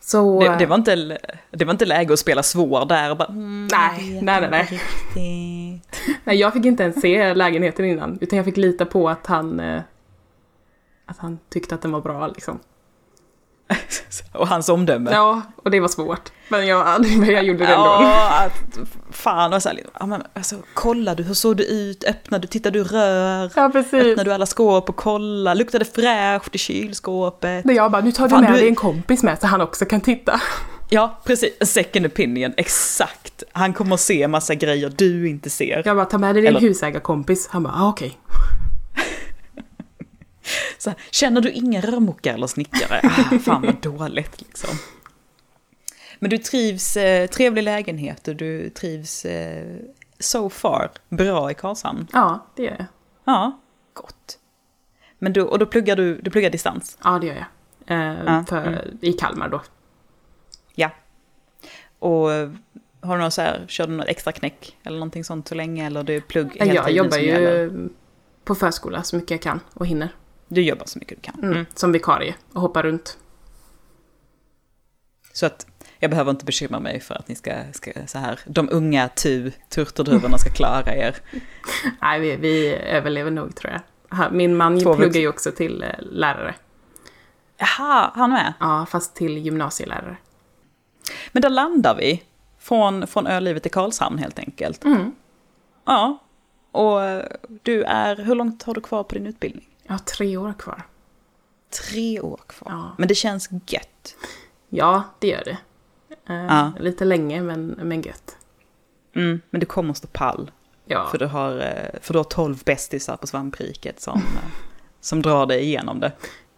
[SPEAKER 2] Så...
[SPEAKER 1] Det, det, var inte, det var inte läge att spela svår där och bara, mm,
[SPEAKER 2] eh, Nej,
[SPEAKER 1] jag vet
[SPEAKER 2] nej, nej, nej.
[SPEAKER 1] inte Riktigt.
[SPEAKER 2] Nej, jag fick inte ens se lägenheten innan, utan jag fick lita på att han... Eh, att han tyckte att den var bra liksom.
[SPEAKER 1] och hans omdöme.
[SPEAKER 2] Ja, och det var svårt. Men jag, men jag gjorde det ändå.
[SPEAKER 1] Ja, att, fan och så här, ja, men, alltså, kollar du, hur såg du ut, öppnar du, tittar du rör,
[SPEAKER 2] Ja, precis.
[SPEAKER 1] öppnar du alla skåp och kollar, luktar det fräscht i kylskåpet?
[SPEAKER 2] När jag bara, nu tar du
[SPEAKER 1] Fan,
[SPEAKER 2] med
[SPEAKER 1] du-
[SPEAKER 2] dig en kompis med så han också kan titta.
[SPEAKER 1] Ja, precis, A second opinion, exakt. Han kommer att se massa grejer du inte ser.
[SPEAKER 2] Jag bara, ta med dig din
[SPEAKER 1] Eller-
[SPEAKER 2] husägarkompis. Han bara, ah, okej.
[SPEAKER 1] Så här, känner du ingen rörmokare eller snickare? Ah, fan vad dåligt liksom. Men du trivs, eh, trevlig lägenhet och du trivs eh, so far bra i Karlshamn.
[SPEAKER 2] Ja, det gör jag.
[SPEAKER 1] Ja, gott. Men du, och då pluggar du, du pluggar distans?
[SPEAKER 2] Ja, det gör jag. Eh,
[SPEAKER 1] Ja,
[SPEAKER 2] för, I Kalmar då.
[SPEAKER 1] Ja. Och eh, har du något så här, kör du något extra knäck eller någonting sånt så länge eller du är plugg hela
[SPEAKER 2] jag
[SPEAKER 1] tiden
[SPEAKER 2] jobbar
[SPEAKER 1] som
[SPEAKER 2] ju
[SPEAKER 1] gäller?
[SPEAKER 2] på förskola så mycket jag kan och hinner.
[SPEAKER 1] Du jobbar så mycket du kan.
[SPEAKER 2] Mm. Som vikarie och hoppar runt.
[SPEAKER 1] Så att jag behöver inte bekymra mig för att ni ska, ska så här, de unga tu, turturduvorna ska klara er.
[SPEAKER 2] Nej, vi, vi överlever nog tror jag. Ha- Min man
[SPEAKER 1] Två
[SPEAKER 2] pluggar
[SPEAKER 1] vuxna.
[SPEAKER 2] ju också till eh, lärare.
[SPEAKER 1] Jaha, han med.
[SPEAKER 2] Ja, fast till gymnasielärare.
[SPEAKER 1] Men där landar vi. Från, från ölivet till Karlshamn helt enkelt.
[SPEAKER 2] Mm.
[SPEAKER 1] Ja. Och eh, du är, hur långt har du kvar på din utbildning?
[SPEAKER 2] Jag har tre år kvar.
[SPEAKER 1] Tre år kvar.
[SPEAKER 2] Ja.
[SPEAKER 1] Men det känns gött.
[SPEAKER 2] Ja, det gör det. Eh,
[SPEAKER 1] Ja.
[SPEAKER 2] Lite länge, men, men gött.
[SPEAKER 1] Mm, men du kommer stå pall.
[SPEAKER 2] Ja,
[SPEAKER 1] För, du har, eh, för du har tolv bästisar på svampriket som, eh, som drar dig igenom det.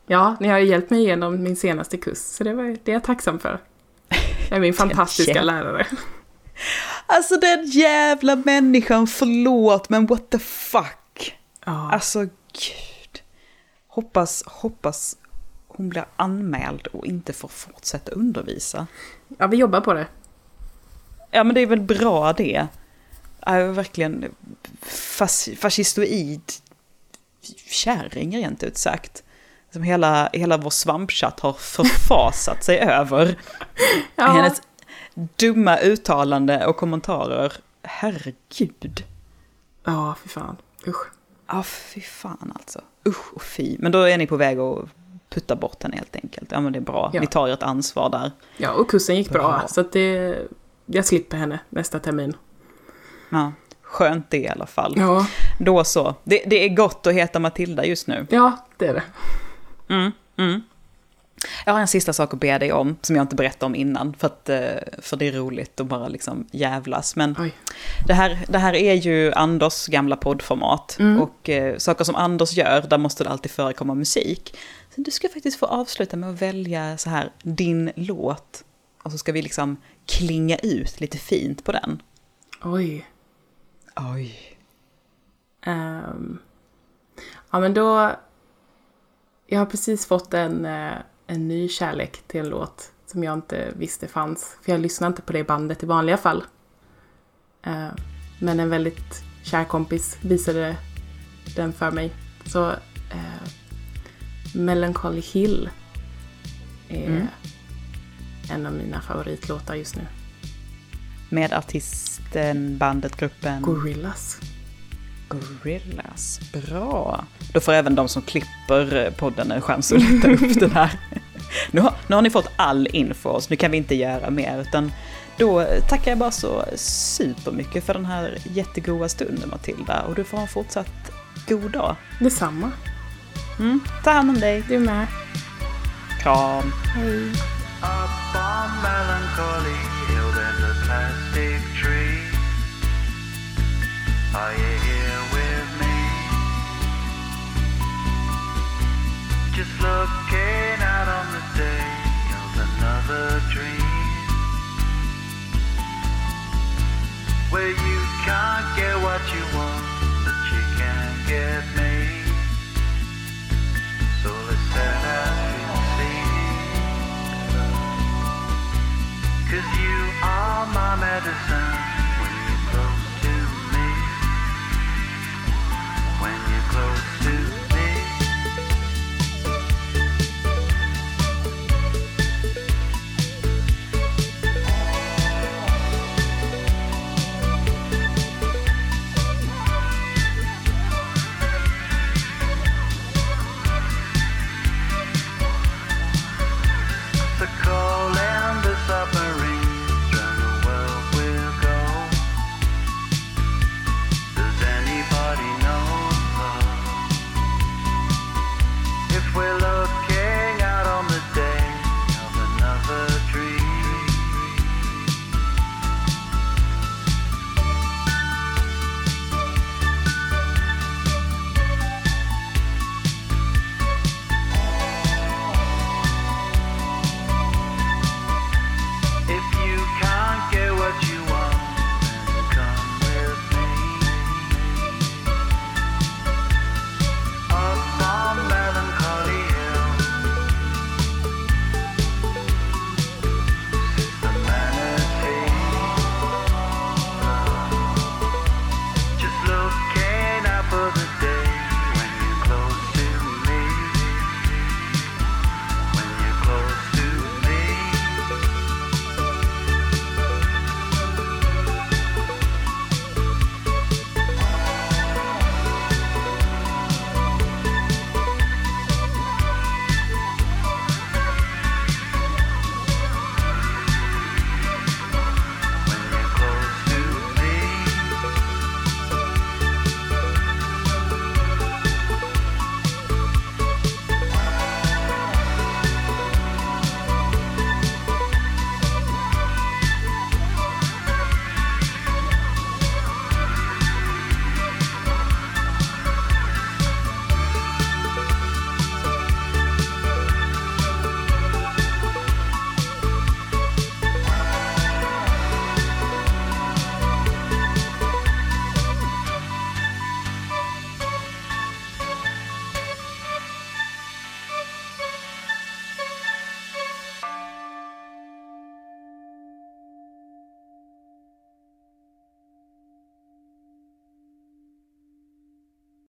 [SPEAKER 2] ja ni har ju hjälpt mig igenom min senaste kurs, så det, var, det är jag tacksam för. Det är min fantastiska
[SPEAKER 1] jävla-
[SPEAKER 2] lärare.
[SPEAKER 1] Alltså den jävla människan, förlåt men what the fuck.
[SPEAKER 2] Ja,
[SPEAKER 1] Alltså gud. Hoppas, hoppas hon blir anmäld och inte får fortsätta undervisa.
[SPEAKER 2] ja vi jobbar på det.
[SPEAKER 1] Ja men det är väl bra det. Jag är verkligen fas, fascistoid kärring rent ut sagt. Som hela, hela vår svampchatt har förfasat sig över.
[SPEAKER 2] Ja.
[SPEAKER 1] Hennes dumma uttalande och kommentarer. Herregud.
[SPEAKER 2] Ja, för fan. Usch.
[SPEAKER 1] Ja, fy fan alltså. Usch och fy. Men då är ni på väg att putta bort henne helt enkelt. Ja, men det är bra.
[SPEAKER 2] Ja.
[SPEAKER 1] Ni tar ert ansvar där.
[SPEAKER 2] Ja, och kursen gick bra,
[SPEAKER 1] Bra.
[SPEAKER 2] så att det, jag slipper henne nästa termin.
[SPEAKER 1] Ja. Skönt det i alla fall.
[SPEAKER 2] Ja,
[SPEAKER 1] Då så. Det, det är gott att heta Matilda just nu.
[SPEAKER 2] ja det är det.
[SPEAKER 1] Mm, mm. Jag har en sista sak att be dig om, som jag inte berättade om innan, för, att, eh, för det är roligt att bara liksom jävlas. Men
[SPEAKER 2] Oj.
[SPEAKER 1] det här, det här är ju Anders gamla poddformat,
[SPEAKER 2] Mm.
[SPEAKER 1] och eh, saker som Anders gör, där måste det alltid förekomma musik. Så du ska faktiskt få avsluta med att välja så här, din låt, och så ska vi liksom klinga ut lite fint på den.
[SPEAKER 2] Oj.
[SPEAKER 1] Oj.
[SPEAKER 2] Ehm. ja, men då... Jag har precis fått en, eh, en ny kärlek till en låt som jag inte visste fanns. För jag lyssnar inte på det bandet i vanliga fall. Eh, men en väldigt kär kompis visade den för mig. Så eh, Melancholy Hill är
[SPEAKER 1] Mm.
[SPEAKER 2] en av mina favoritlåtar just nu.
[SPEAKER 1] Med artisten, bandet, gruppen...
[SPEAKER 2] Gorillas.
[SPEAKER 1] Gorillas. Bra. Då får även de som klipper eh, podden en chans att leta upp den här. Nu har, nu har ni fått all info, så nu kan vi inte göra mer. Utan då eh, tackar jag bara så supermycket för den här jättegoda stunden Matilda. Och du får ha en fortsatt god dag.
[SPEAKER 2] Detsamma.
[SPEAKER 1] Mm. Ta hand om dig.
[SPEAKER 2] Du med.
[SPEAKER 1] Kram.
[SPEAKER 2] Hej.
[SPEAKER 3] Up on melancholy hill there's a plastic tree. Are you here with me? Just looking out on the day of another dream. Where you can't get what you want, but you can get me.